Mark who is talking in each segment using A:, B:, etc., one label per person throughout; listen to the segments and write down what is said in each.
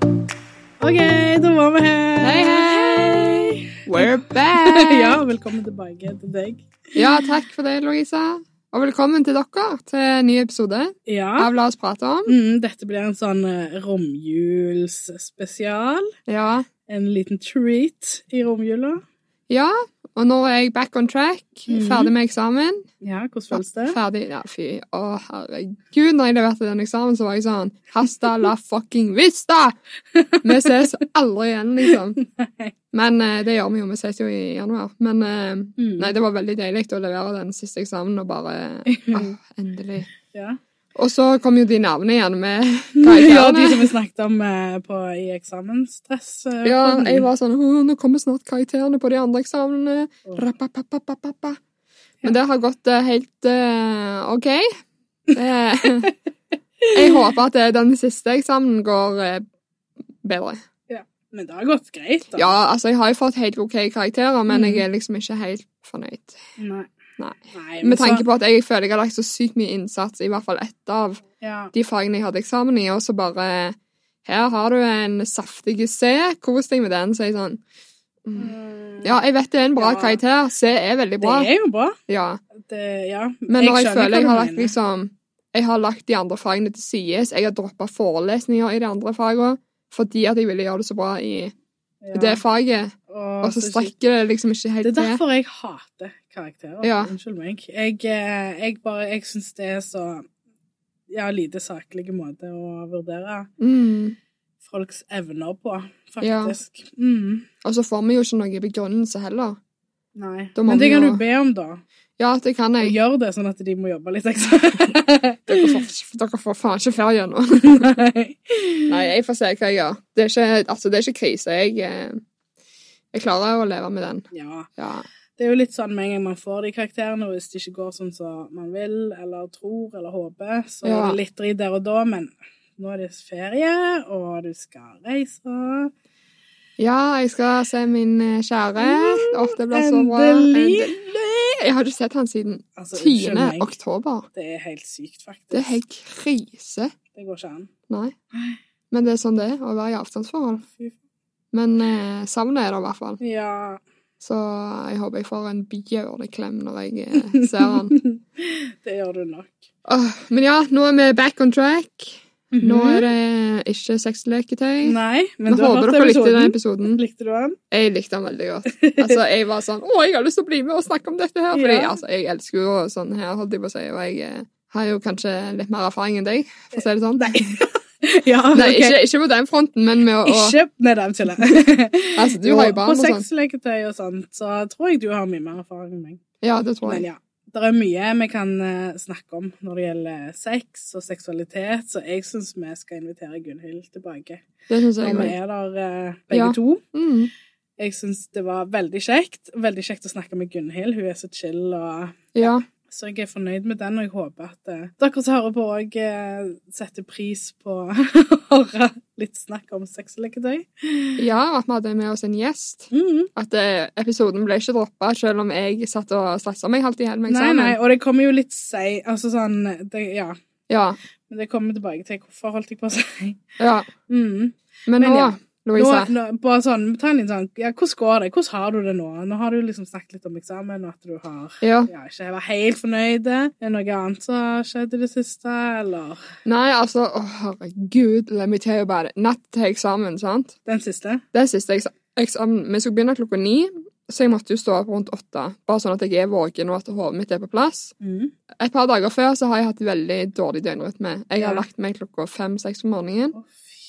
A: Back!
B: Ja, velkommen tilbake til deg.
A: Ja, takk for det, Louisa. Og velkommen til dere til en ny episode
B: Ja.
A: av La oss prate om.
B: Mm, dette blir en sånn eh, romjulsspesial.
A: Ja.
B: En liten treat i romjula.
A: ja, og nå er jeg back on track.
B: Mhm.
A: Ferdig med eksamen.
B: Ja, hvordan føles det?
A: Ferdig Ja, fy. Å, herregud, når jeg leverte den eksamen, så var jeg sånn Hasta la fucking vista! Vi ses aldri igjen, liksom.
B: Nei.
A: Men eh, det gjør vi jo. Vi ses jo i januar. Men eh,
B: Mm.
A: nei, det var veldig deilig å levere den siste eksamen og bare ah, Endelig.
B: Ja.
A: Og så kom jo de navnene igjen med
B: ja,
A: karakterene.
B: de som vi snakket om eh, på, i eksamensstress. eh,
A: Ja,
B: podden.
A: jeg var sånn «Åh, Nå kommer snart karakterene på de andre eksamene.
B: Åh.
A: Rapapapapapapa. Men det har gått eh, helt eh, OK. Eh, jeg håper at eh, den siste eksamen går eh, bedre.
B: Men det har gått greit, da.
A: Ja, altså, jeg har jo fått helt OK karakterer, men
B: Mm.
A: jeg er liksom ikke helt fornøyd.
B: Nei.
A: Nei.
B: Nei, men
A: Med tanke
B: så-
A: på at jeg føler jeg har lagt så sykt mye innsats, i hvert fall ett av
B: ja.
A: de fagene jeg hadde eksamen i, og så bare Her har du en saftig C, kos deg med den, så er jeg sånn mm.
B: Mm,
A: Ja, jeg vet det er en bra
B: Ja.
A: karakter. C er veldig
B: Det
A: bra.
B: er jo bra.
A: Ja.
B: Det, ja.
A: Men når jeg,
B: skjønner
A: føler
B: hva
A: jeg
B: du
A: har lagt
B: mener.
A: liksom Jeg har lagt de andre fagene til sides, jeg har droppa forelesninger i de andre fagene fordi at jeg ville gjøre det så bra i
B: Ja.
A: det faget,
B: Åh,
A: og så
B: så
A: strekker det liksom ikke
B: Det
A: helt
B: er
A: til.
B: derfor jeg hater karakterer.
A: Ja.
B: Unnskyld meg. Jeg, eh, jeg bare Jeg syns det er så Ja, lite saklige måter å vurdere
A: Mm.
B: folks evner på,
A: Ja.
B: faktisk. Mm.
A: Og så får vi jo ikke noe begrunnelse heller.
B: Nei.
A: Da må
B: Men det
A: vi
B: kan
A: jo-
B: du be om, da.
A: Ja, det kan
B: Og
A: jeg.
B: gjør det, sånn at de må jobbe litt ekstra.
A: Dere får, dere får faen ikke ferie nå.
B: Nei.
A: Nei, jeg får se hva jeg gjør. Det er ikke, altså, det er ikke krise. Jeg, eh, jeg klarer å leve med den.
B: Ja.
A: Ja.
B: Det er jo litt sånn med en gang man får de karakterene, og hvis det ikke går sånn som man vil, eller tror, eller håper, så
A: Ja.
B: er det litt dritt der og da, men nå er det ferie, og du skal reise.
A: Ja, jeg skal se min eh, kjære. Åh, det blir
B: altså,
A: så bra.
B: Endelig!
A: Jeg har ikke sett han siden
B: Altså, unnskyld
A: 10.
B: meg.
A: oktober.
B: Det er helt sykt, faktisk.
A: Det er helt krise.
B: Det går ikke an.
A: Nei. Men det er sånn det er å være i avstandsforhold.
B: Fy faen.
A: Men eh, savnet er det i hvert fall.
B: Ja.
A: Så jeg håper jeg får en bjørneklem når jeg eh, ser han.
B: det gjør du nok.
A: Åh, men ja, nå er vi back on track.
B: Mhm.
A: Nå er det ikke sexleketøy.
B: Nei, men
A: Men
B: du har
A: håper
B: hørt
A: dere likte den
B: episoden.
A: episoden.
B: Likte du den?
A: Jeg likte den veldig godt. Altså, Jeg var sånn Å, jeg har lyst til å bli med og snakke om dette her! Fordi
B: Ja.
A: altså, jeg elsker jo sånn her, holdt jeg på å si. Og jeg eh, har jo kanskje litt mer erfaring enn deg, for å si det sånn.
B: Nei. ja,
A: Nei,
B: ok.
A: ikke, ikke på den fronten, men med å
B: Ikke Nei, det er tuller.
A: Altså, du har jo barn
B: På
A: og sånn.
B: sexleketøy og sånt, så tror jeg du har mye mer erfaring enn meg.
A: Ja, det tror
B: Men
A: jeg.
B: ja, det er mye vi kan eh, snakke om når det gjelder sex og seksualitet, så jeg syns vi skal invitere Gunhild tilbake.
A: Det syns jeg
B: Når vi
A: òg.
B: er der eh, begge
A: Ja.
B: to.
A: Mm.
B: Jeg syns det var veldig kjekt. Veldig kjekt å snakke med Gunhild. Hun er så chill. og...
A: Ja.
B: Så jeg er fornøyd med den, og jeg håper at eh, dere som hører på, òg setter pris på å høre litt snakk om sexleketøy.
A: ja, at vi hadde med oss en gjest.
B: Mm.
A: At eh, episoden ble ikke droppa, selv om jeg satt og stressa meg halvt i hjel med
B: Nei,
A: eksamen.
B: nei, og det kommer jo litt sei... Altså sånn det, Ja.
A: Ja,
B: Men det kommer tilbake til hvorfor, holdt jeg på å si.
A: ja.
B: Mm.
A: Men,
B: Men
A: nå,
B: ja. Nå,
A: Louisa
B: nå, bare sånn, ta en liten sånn Ja, hvordan går det? Hvordan har du det nå? Nå har du liksom snakket litt om eksamen, og at du har
A: Ja.
B: ja, ikke vært helt fornøyd. Er det noe annet som har skjedd i det siste, eller
A: Nei, altså Å, herregud, let me tell you about it. Natt til eksamen, sant?
B: den siste?
A: Det er siste eksa- eksamen. Vi skulle begynne klokka ni, så jeg måtte jo stå opp rundt åtte. Bare sånn at jeg er våken, og at hodet mitt er på plass.
B: Mm.
A: Et par dager før så har jeg hatt veldig dårlig døgnrytme. Jeg har
B: Ja.
A: lagt meg klokka fem-seks om morgenen,
B: Å,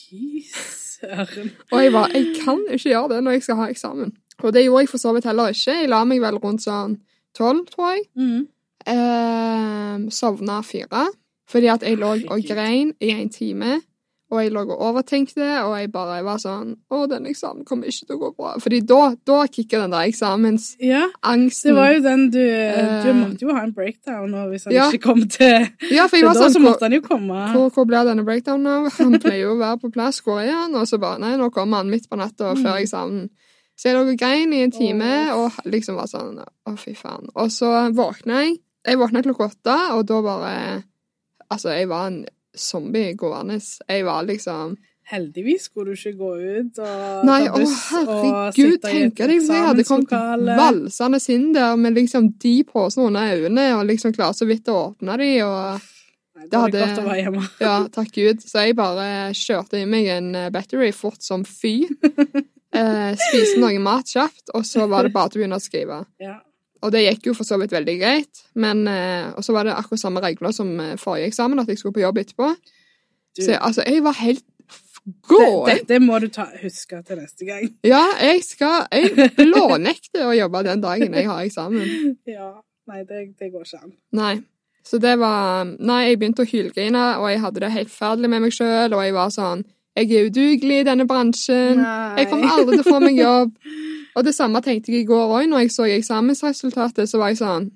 B: fy søren.
A: og jeg var Jeg kan ikke gjøre det når jeg skal ha eksamen. Og det gjorde jeg for så vidt heller ikke. Jeg la meg vel rundt sånn tolv, tror jeg.
B: Mm.
A: Eh, sovna fire. Fordi at jeg lå og
B: Herregud.
A: grein i en time. Og jeg lå og overtenkte, og jeg bare var sånn Å, den eksamen kommer ikke til å gå bra. Fordi da, da kicker den der eksamensangsten.
B: Ja, det var jo den du Du
A: Mm. Eh.
B: måtte jo ha en breakdown, og hvis han
A: Ja.
B: ikke kom til
A: ja, for jeg
B: til
A: var
B: da, så
A: sånn
B: måtte han jo komme.
A: hvor, hvor blir denne breakdownen av? Han pleier jo å være på plass, hvor er han? Og så bare, nei, nå kommer han midt på natta og før eksamen. Så jeg lå og grein i en time, og liksom var sånn, å fy faen. Og så våkna jeg, jeg våkna klokka åtte, og da bare, altså jeg var en zombie gående. Jeg var liksom,
B: Heldigvis skulle du ikke gå ut og
A: Nei,
B: ta
A: å
B: buss og
A: herregud,
B: sitte i et
A: tenker deg hvis jeg hadde kommet
B: eksamenslokale.
A: valsende inn der med liksom de posene under øynene, og liksom klart så vidt å åpne de, og
B: Nei,
A: Det
B: Da er det
A: hadde-
B: godt å være hjemme.
A: ja, takk Gud. Så jeg bare kjørte i meg en eh, battery fort som fy. Eh, spiste noe mat kjapt, og så var det bare til å begynne å skrive.
B: Ja.
A: Og det gikk jo for så vidt veldig greit, men eh, Og så var det akkurat samme regler som eh, forrige eksamen, at jeg skulle på jobb etterpå.
B: Du,
A: Så jeg, altså, jeg var helt f-
B: det-
A: gåen.
B: Dette må du ta, huske til neste gang.
A: Ja, jeg skal Jeg blånekter å jobbe den dagen jeg har eksamen.
B: Ja. Nei, det, det går ikke an.
A: Nei. Så det var Nei, jeg begynte å hylgrine, og jeg hadde det helt forferdelig med meg sjøl, og jeg var sånn Jeg er udugelig i denne bransjen.
B: Nei.
A: Jeg kommer aldri til å få meg jobb. Og det samme tenkte jeg i går òg, når jeg så eksamensresultatet, så var jeg sånn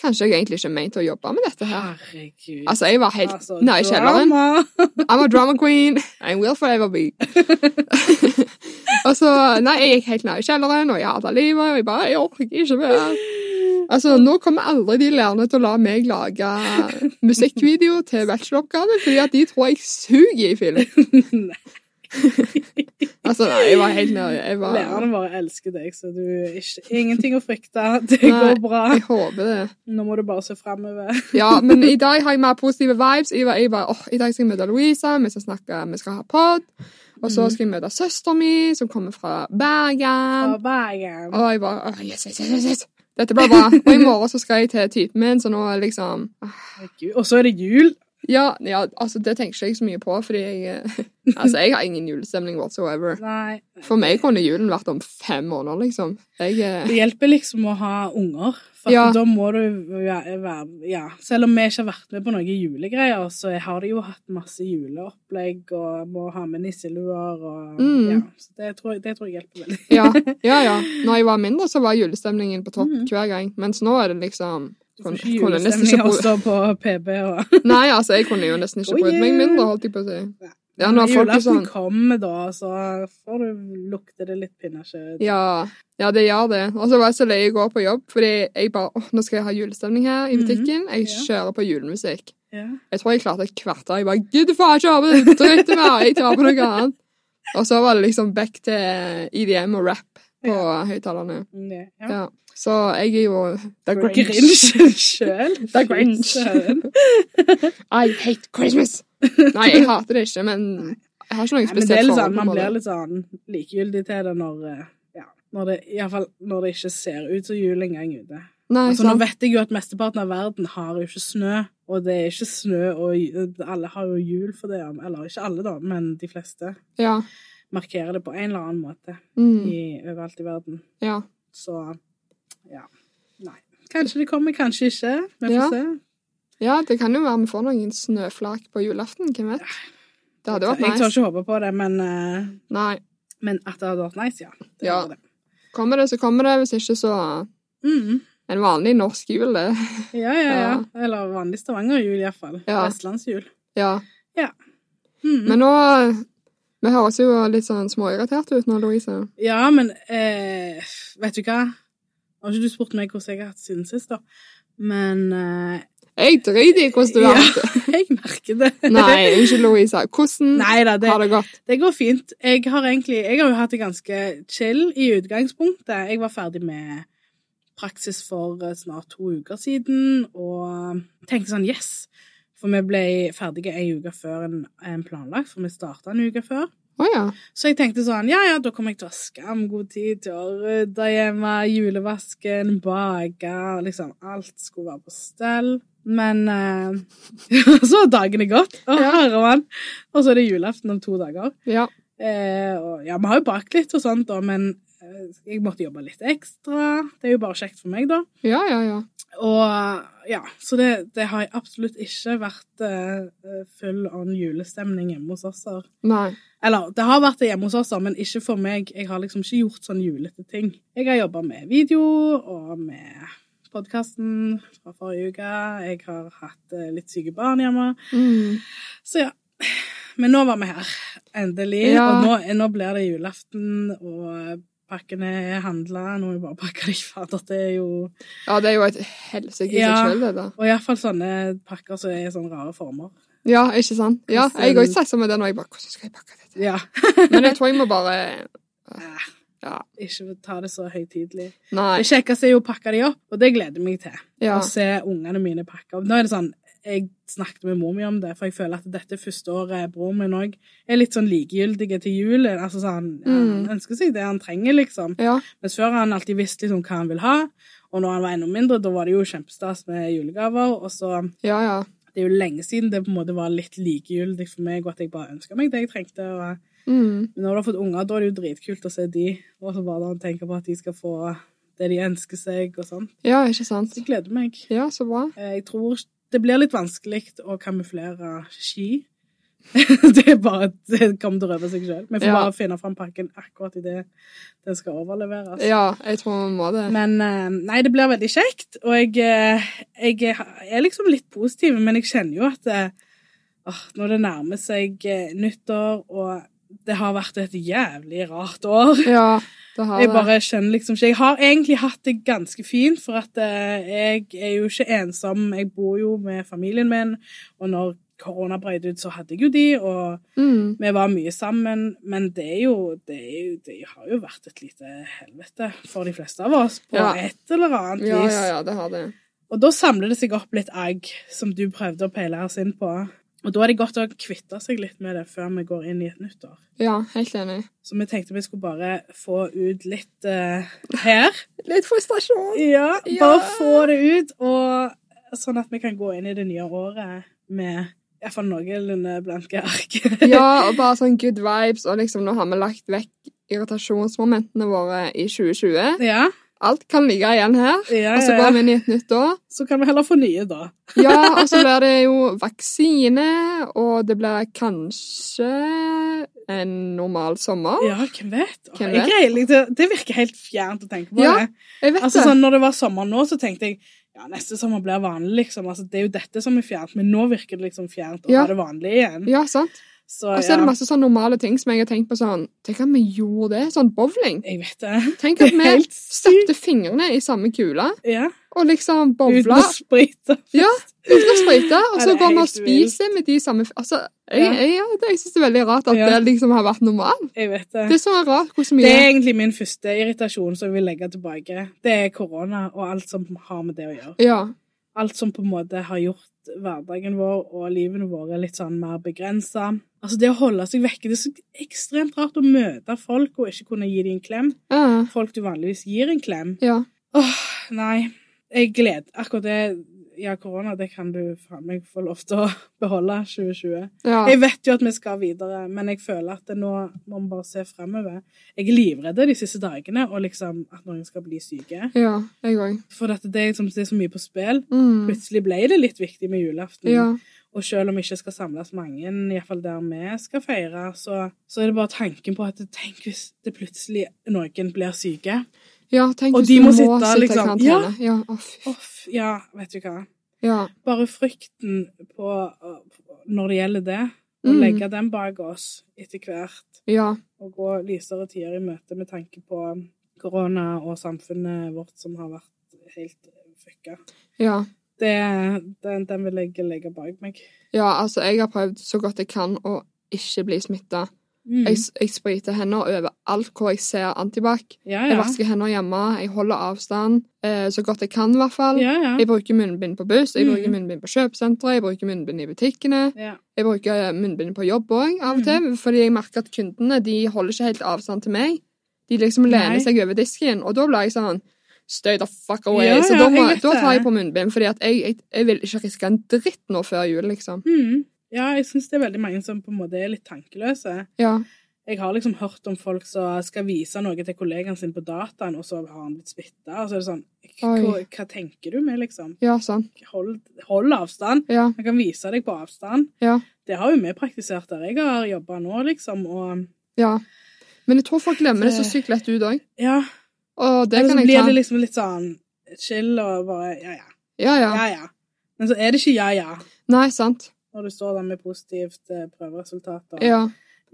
A: Kanskje jeg egentlig ikke er ment til å jobbe med dette her.
B: Herregud.
A: Altså, jeg var helt
B: Altså,
A: nede i kjelleren.
B: drama.
A: I'm a drama queen. I will forever be. og så Nei, jeg gikk helt ned i kjelleren, og jeg hater livet, og jeg bare Jeg orker ikke mer. Altså, nå kommer aldri de lærerne til å la meg lage musikkvideo til bacheloroppgaven, fordi at de tror jeg suger i film.
B: Nei.
A: Altså, nei, jeg var helt nede. Jeg, var,
B: Lærerne våre elsker deg, så du er ikke, ingenting å frykte. Det
A: Nei.
B: går bra.
A: jeg håper det.
B: Nå må du bare se framover.
A: Ja, men i dag har jeg mer positive vibes. Jeg var, jeg var åh, i dag skal jeg møte Louisa, vi skal snakke, vi skal ha pod. Og så skal jeg møte søsteren min, som kommer fra Bergen.
B: Fra Bergen.
A: Og jeg bare åh, yes, yes, yes, yes. Dette blir bra. Og i morgen så skal jeg til typen min, så nå er liksom
B: Herregud. Og så er det jul.
A: Ja, ja altså, det tenker ikke jeg så mye på, fordi jeg eh, Altså, jeg har ingen julestemning whatsoever.
B: Nei.
A: For meg kunne julen vært om fem måneder, liksom. Jeg eh,
B: Det hjelper liksom å ha unger. For
A: Ja.
B: da må du være være- ja. Selv om vi ikke har vært med på noen julegreier, så har de jo hatt masse juleopplegg og må ha med nisseluer og
A: Mm.
B: ja. Så det tror, jeg- det tror jeg hjelper veldig.
A: Ja, ja. ja. Når jeg var mindre, så var julestemningen på topp
B: Mm.
A: hver gang. Mens nå er det liksom
B: Du får
A: kunne,
B: ikke
A: kunne nesten
B: julestemning
A: ikke
B: av å
A: bry-
B: stå på PB og
A: Nei, altså, jeg kunne jo nesten ikke
B: God
A: brydd meg
B: jul!
A: mindre, holdt jeg på å si. Ja, når
B: Når
A: folk er
B: julaften
A: sånn
B: kommer, da, så får du lukte det litt pinnekjøtt.
A: Ja, ja det gjør det. Og så var jeg så lei i går på jobb, fordi jeg bare åh, nå skal jeg ha julestemning her i
B: Mhm,
A: butikken. Jeg
B: ja. kjører
A: kjører på julemusikk.
B: Ja.
A: Jeg tror jeg klarte et kvarter. Jeg bare gidder faen ikke å jobbe, dritt i meg, jeg tar på noe annet. Og så var det liksom back til IDM og rap på høyttalerne.
B: Ja.
A: Ja. Så jeg er jo The
B: Grinch sjøl.
A: The Grinch. I hate Christmas! Nei, jeg hater det ikke, men jeg har ikke noe
B: Nei, men det er
A: spesielt
B: litt sånn,
A: forhold
B: man
A: på det.
B: blir litt sånn likegyldig til det når eh, ja, når det, i hvert fall når det ikke ser ut som jul engang ute.
A: Nei,
B: Altså, nå
A: sant.
B: vet jeg jo at mesteparten av verden har jo ikke snø, og det er ikke snø, og j- alle har jo jul for det. Eller ikke alle, da, men de fleste
A: Ja.
B: markerer det på en eller annen måte
A: Mm,
B: i, overalt i verden.
A: ja.
B: Så ja. Nei. Kanskje det kommer, kanskje ikke. Vi får
A: Ja.
B: se.
A: ja, det kan jo være vi får noen snøflak på julaften, hvem vet? Det hadde vært
B: jeg tør
A: nice.
B: ikke håpe på det, men, eh,
A: Nei.
B: men at det hadde vært nice, ja. Det
A: Ja.
B: hadde Det.
A: Kommer det, så kommer det. Hvis ikke, så
B: Mm.
A: en vanlig norsk jul, det.
B: Ja, ja, ja. Eller vanlig Stavanger-jul, iallfall.
A: Ja.
B: Vestlandsjul.
A: Ja.
B: Mm.
A: Men nå eh, Vi høres jo litt sånn småirriterte ut nå, Louise.
B: ja, men eh, vet du hva? Har ikke du spurt meg hvordan jeg har hatt siden sist, da? Men eh,
A: Jeg driter i hvordan du har hatt det.
B: jeg merker det.
A: Nei, unnskyld, Louise. Hvordan
B: Nei da, det,
A: har det gått?
B: det går fint. Jeg har egentlig Jeg har jo hatt det ganske chill i utgangspunktet. Jeg var ferdig med praksis for eh, snart to uker siden, og tenkte sånn yes. For vi ble ferdige ei uke før enn en planlagt, for vi starta en uke før.
A: Å ja.
B: Så jeg tenkte sånn, ja, ja, da kommer jeg til å ha skamgod tid til å rydde hjemme, julevasken, bake, liksom alt skulle være på stell. Men eh, så har dagene gått, å
A: Ja.
B: herremann. Og så er det julaften om to dager.
A: Ja.
B: Eh, og ja, vi har jo bakt litt og sånt da, men eh, jeg måtte jobbe litt ekstra. Det er jo bare kjekt for meg da.
A: Ja, ja, ja.
B: Og ja, så det, det har jeg absolutt ikke vært eh, full on julestemning hjemme hos oss her.
A: Nei.
B: Eller, det har vært det hjemme hos oss, da, men ikke for meg. Jeg har liksom ikke gjort sånn julete ting. Jeg har jobba med video og med podkasten fra forrige uke. Jeg har hatt eh, litt syke barn hjemme.
A: Mm.
B: Så ja. Men nå var vi her, endelig.
A: Ja.
B: Og nå, nå blir det julaften, og pakkene er handla. Nå må jeg bare pakke de fader. Det er jo
A: Ja, det er jo et helsike i seg
B: Ja.
A: sjøl, det der.
B: Og iallfall sånne pakker som er i sånne rare former.
A: Ja, ikke sant? Ja, jeg òg stressa med den, og jeg bare Hvordan skal jeg pakke dette?
B: Ja.
A: Men jeg tror jeg må bare Ja.
B: Ikke ta det så høytidelig.
A: Nei.
B: Det kjekkeste er jo å pakke de opp, og det gleder jeg meg til.
A: Ja.
B: Å se ungene mine pakke opp. Nå er det sånn, jeg snakket med mor mi om det, for jeg føler at dette første året bror min òg er litt sånn likegyldige til jul. Altså sånn,
A: Mm.
B: Han ønsker seg det han trenger, liksom.
A: Ja.
B: Mens før har han alltid visst liksom hva han vil ha. Og når han var enda mindre, da var det jo kjempestas med julegaver. Og så
A: Ja, ja.
B: Det er jo lenge siden det på en måte var litt likegyldig for meg, og at jeg bare ønska meg det jeg trengte. og
A: Mm.
B: men når du har fått unger, da er det jo dritkult å se de, og så bare tenke på at de skal få det de ønsker seg, og sånn.
A: ja, ikke sant?
B: Så jeg gleder meg.
A: Ja, så bra.
B: Eh, Jeg tror det blir litt vanskelig å kamuflere ski. det er bare det kommer til å røve seg sjøl. Vi får
A: Ja.
B: bare finne fram pakken akkurat idet den skal overleveres.
A: Ja, jeg tror vi må det.
B: Men eh, nei, det blir veldig kjekt, og jeg, eh, jeg er liksom litt positiv, men jeg kjenner jo at eh, åh, når det nærmer seg eh, nyttår, og det har vært et jævlig rart år
A: Ja, det har
B: jeg
A: det.
B: bare skjønner liksom ikke. Jeg har egentlig hatt det ganske fint, for at eh, jeg er jo ikke ensom. Jeg bor jo med familien min, og når korona brøt ut, så hadde jeg jo de, og
A: Mm.
B: vi var mye sammen. Men det er jo Det, er jo, det har jo vært et lite helvete for de fleste av oss, på
A: Ja.
B: et eller annet
A: Ja,
B: vis.
A: ja, ja, det har det.
B: Og da samler det seg opp litt egg, som du prøvde å peile oss inn på. Og da er det godt å kvitte seg litt med det før vi går inn i et nytt år.
A: Ja, helt enig.
B: Så vi tenkte vi skulle bare få ut litt eh, her.
A: Litt frustrasjon.
B: Ja,
A: Ja.
B: bare få det ut, og sånn at vi kan gå inn i det nye året med iallfall noenlunde blanke ark.
A: Ja, og bare sånn good vibes, og liksom nå har vi lagt vekk irritasjonsmomentene våre i 2020.
B: ja,
A: Alt kan ligge igjen her,
B: ja,
A: og så
B: ja,
A: går vi
B: ja.
A: inn i et nytt år.
B: Så kan vi heller få nye, da.
A: Ja, og så blir det jo vaksine, og det blir kanskje en normal sommer.
B: Ja, hvem vet? Åh,
A: Hvem
B: jeg
A: vet?
B: greier litt- det, det virker helt fjernt å tenke på
A: Ja,
B: det.
A: Jeg vet
B: Altså
A: det.
B: sånn, Når det var sommer nå, så tenkte jeg ja, neste sommer blir vanlig, liksom. Altså, det er jo dette som er fjernt, men nå virker det liksom fjernt å
A: Ja.
B: ha det vanlig igjen.
A: Ja, sant.
B: Så
A: Og så
B: ja,
A: er det masse sånn normale ting som jeg har tenkt på sånn Tenk at vi gjorde det. Sånn bowling.
B: jeg vet det.
A: Tenk
B: Det
A: at
B: er
A: vi
B: helt sykt.
A: støpte fingrene i samme kule
B: Ja,
A: og
B: Uten
A: liksom bowla
B: å sprite.
A: Ja, uten å sprite, og
B: Ja,
A: så
B: det er
A: går vi og
B: helt
A: spiser med de samme f- Altså, jeg,
B: Ja.
A: jeg, ja, det, jeg syns det er veldig rart at
B: Ja.
A: det liksom har vært normalt.
B: Jeg vet
A: Det er så rart hvor så
B: Det
A: mye
B: er egentlig min første irritasjon som jeg vil legge tilbake. Det er korona og alt som har med det å gjøre.
A: Ja.
B: Alt som på en måte har gjort hverdagen vår og livene våre litt sånn mer begrensa. Altså det å holde seg vekke Det er så ekstremt rart å møte folk og ikke kunne gi dem en klem.
A: Ja.
B: Folk du vanligvis gir en klem.
A: ja.
B: Åh, nei. Jeg gleder Akkurat det Ja, korona, det kan du faen meg få lov til å beholde 2020.
A: ja.
B: Jeg vet jo at vi skal videre, men jeg føler at det nå må vi bare se fremover. Jeg er livredd de siste dagene, og liksom at noen skal bli syke.
A: Ja, jeg òg.
B: For at det, er liksom, det er så mye på spill.
A: Mm.
B: Plutselig ble det litt viktig med julaften.
A: Ja.
B: Og selv om vi ikke skal samles mange, iallfall der vi skal feire, så, så er det bare tanken på at tenk hvis det plutselig noen blir syke.
A: ja, tenk
B: Og
A: hvis
B: de
A: du
B: må
A: må
B: sitte,
A: sitte, i
B: liksom.
A: karantene. Ja. å, fy.
B: Uff, ja, vet du hva.
A: ja.
B: Bare frykten på når det gjelder det, å
A: Mm.
B: legge den bak oss etter hvert.
A: ja.
B: å gå lysere tider i møte med tanke på korona og samfunnet vårt som har vært helt fucka.
A: Ja.
B: Det, den, den vil jeg legge bak meg.
A: Ja, altså, jeg har prøvd så godt jeg kan å ikke bli smitta.
B: Mm.
A: Jeg, jeg spriter hender overalt hvor jeg ser antibac.
B: ja,
A: Jeg
B: ja.
A: vasker hender hjemme, jeg holder avstand eh, så godt jeg kan, i hvert fall.
B: ja, ja.
A: Jeg bruker munnbind på buss, jeg
B: Mm.
A: bruker munnbind på kjøpesentre, jeg bruker munnbind i butikkene.
B: ja.
A: Jeg bruker eh, munnbind på jobb òg,
B: Mm.
A: av og til, fordi jeg merker at kundene de holder ikke helt avstand til meg. De liksom lener
B: Nei.
A: seg over disken, og da blir jeg sånn Stay the fuck away.
B: Ja,
A: så
B: ja,
A: da, må,
B: jeg vet
A: da tar jeg
B: det.
A: på munnbind, fordi at jeg, jeg, jeg vil ikke riske en dritt nå før jul, liksom.
B: Mm. ja, jeg syns det er veldig mange som på en måte er litt tankeløse.
A: Ja.
B: Jeg har liksom hørt om folk som skal vise noe til kollegaen sin på dataen, og så har han blitt smitta. Og så er det sånn hva,
A: Oi.
B: hva tenker du med, liksom?
A: Ja, sånn.
B: Hold, hold avstand.
A: Ja.
B: Han kan vise deg på avstand.
A: Ja.
B: Det har jo vi praktisert der jeg har jobba nå, liksom. Og
A: ja. Men jeg tror folk glemmer det så sykt lett ut òg.
B: ja,
A: Og det
B: Eller
A: kan
B: så
A: jeg
B: blir det
A: ta.
B: liksom litt sånn chill og bare ja, ja.
A: Ja, ja.
B: ja, ja. Men så er det ikke ja, ja,
A: Nei, sant.
B: når du står der med positivt eh, prøveresultat og
A: Ja.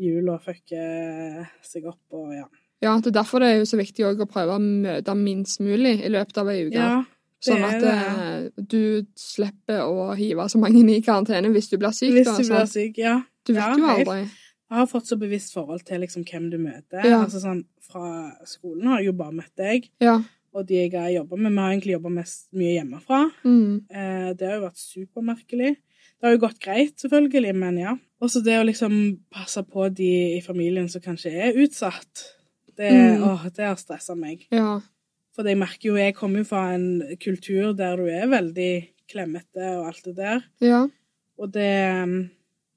B: jula fucker seg opp og ja.
A: Ja, det er derfor det er jo så viktig også å prøve å møte minst mulig i løpet av ei uke.
B: Ja,
A: Sånn
B: Det
A: at
B: er
A: eh, du slipper å hive så mange i karantene hvis du blir syk.
B: Hvis
A: da,
B: du blir
A: sant?
B: syk, ja.
A: du vet
B: Ja,
A: jo
B: helt.
A: aldri.
B: Jeg har fått så bevisst forhold til liksom hvem du møter.
A: Ja.
B: Altså sånn, Fra skolen har jeg jo bare møtt deg,
A: Ja.
B: og de jeg har jobba med. Vi har egentlig jobba mest mye hjemmefra.
A: Mm.
B: Eh, det har jo vært supermerkelig. Det har jo gått greit, selvfølgelig, men ja. Og så det å liksom passe på de i familien som kanskje er utsatt, det,
A: Mm.
B: åh, det har stressa meg.
A: ja.
B: For jeg merker jo, jeg kommer jo fra en kultur der du er veldig klemmete og alt det der.
A: Ja.
B: Og det mm,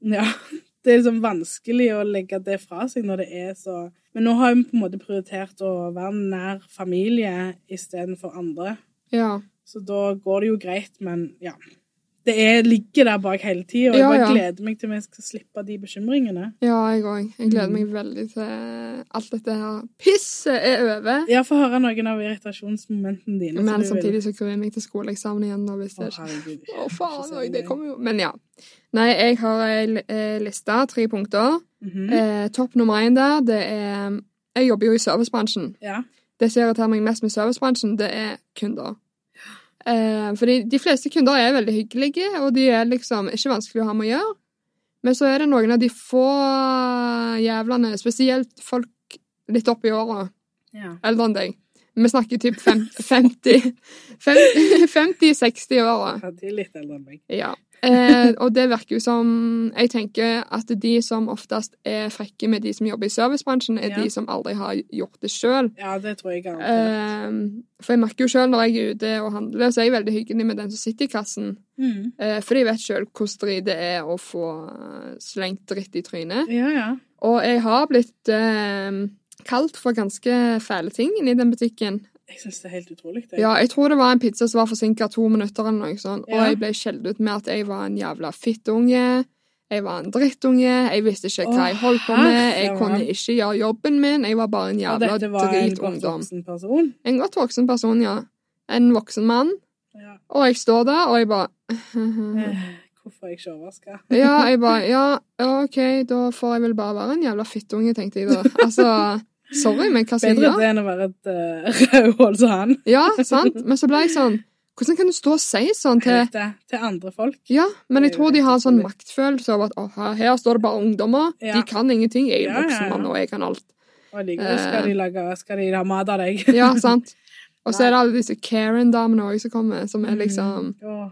B: Ja. Det er liksom vanskelig å legge det fra seg når det er så Men nå har vi på en måte prioritert å være nær familie istedenfor andre.
A: Ja.
B: Så da går det jo greit, men ja. Det er, ligger der bak hele tida, og jeg
A: Ja,
B: bare
A: ja.
B: gleder meg til vi skal slippe de bekymringene.
A: Ja, jeg òg. Jeg gleder
B: Mm.
A: meg veldig til alt dette her pisset er over.
B: Ja, få høre noen av irritasjonsmomentene dine.
A: Men
B: som du vil.
A: samtidig så gruer jeg meg til skoleeksamen igjen. nå hvis det
B: Å,
A: ikke
B: herregud.
A: Å, faen
B: Ikke
A: òg,
B: si
A: det kommer jo Men ja. Nei, jeg har ei li- eh, liste, tre punkter.
B: Mhm.
A: Eh, topp nummer én der, det er Jeg jobber jo i servicebransjen.
B: Ja.
A: Det som irriterer meg mest med servicebransjen, det er kunder. Eh, fordi de fleste kunder er veldig hyggelige, og de er liksom ikke vanskelig å ha med å gjøre. Men så er det noen av de få jævlene, spesielt folk litt opp i åra,
B: ja.
A: eldre enn deg. Vi snakker typ fem- 50 50-60-åra.
B: Ja, De er litt eldre enn meg.
A: Ja. Eh, og det virker jo som Jeg tenker at de som oftest er frekke med de som jobber i servicebransjen, er
B: Ja.
A: de som aldri har gjort det sjøl.
B: Ja, det tror jeg garantert.
A: Eh, for jeg merker jo sjøl når jeg er ute og handler, så er jeg veldig hyggelig med den som sitter i kassen.
B: Mhm.
A: Eh, for jeg vet sjøl hvor drit det er å få eh, slengt dritt i trynet.
B: Ja, ja.
A: Og jeg har blitt eh, kalt for ganske fæle ting inne i den butikken.
B: Jeg syns det er helt utrolig, det.
A: Ja, jeg tror det var en pizza som var forsinka to minutter, eller noe sånt.
B: Ja.
A: Og jeg ble skjelt ut med at jeg var en jævla fittunge. Jeg var en drittunge. Jeg visste ikke hva
B: Å,
A: jeg holdt på med. Jeg
B: herre
A: kunne
B: mann.
A: ikke gjøre jobben min. Jeg var bare en
B: Og
A: jævla
B: dette var en godt
A: dritungdom.
B: voksen person.
A: En godt voksen person, ja. En voksen mann.
B: Ja.
A: Og jeg står der, og jeg bare Mhm.
B: Eh, Hvorfor er jeg ikke overraska?
A: Ja, jeg bare Ja, OK, da får jeg vel bare være en jævla fittunge, tenkte jeg da. Altså, sorry, men hva skal jeg
B: Bedre
A: gjøre?
B: det enn å være et uh, rødhål som han.
A: Ja, sant? Men så ble jeg sånn Hvordan kan du stå og si sånn til
B: Helt det. Til andre folk.
A: Ja, men
B: Det er
A: jeg
B: jo
A: tror de
B: helt
A: har en sånn
B: utrolig.
A: maktfølelse av at «Å, her, her står det bare ungdommer.
B: Ja.
A: De kan ingenting. Jeg er
B: Ja, ja,
A: en voksen
B: ja.
A: mann, og jeg kan alt.
B: Og likevel
A: Eh.
B: skal de lage Skal de ha mat av deg.
A: Ja, sant? Og så
B: Nei.
A: er det alle disse Karen-damene også som kommer, som er liksom
B: Åh,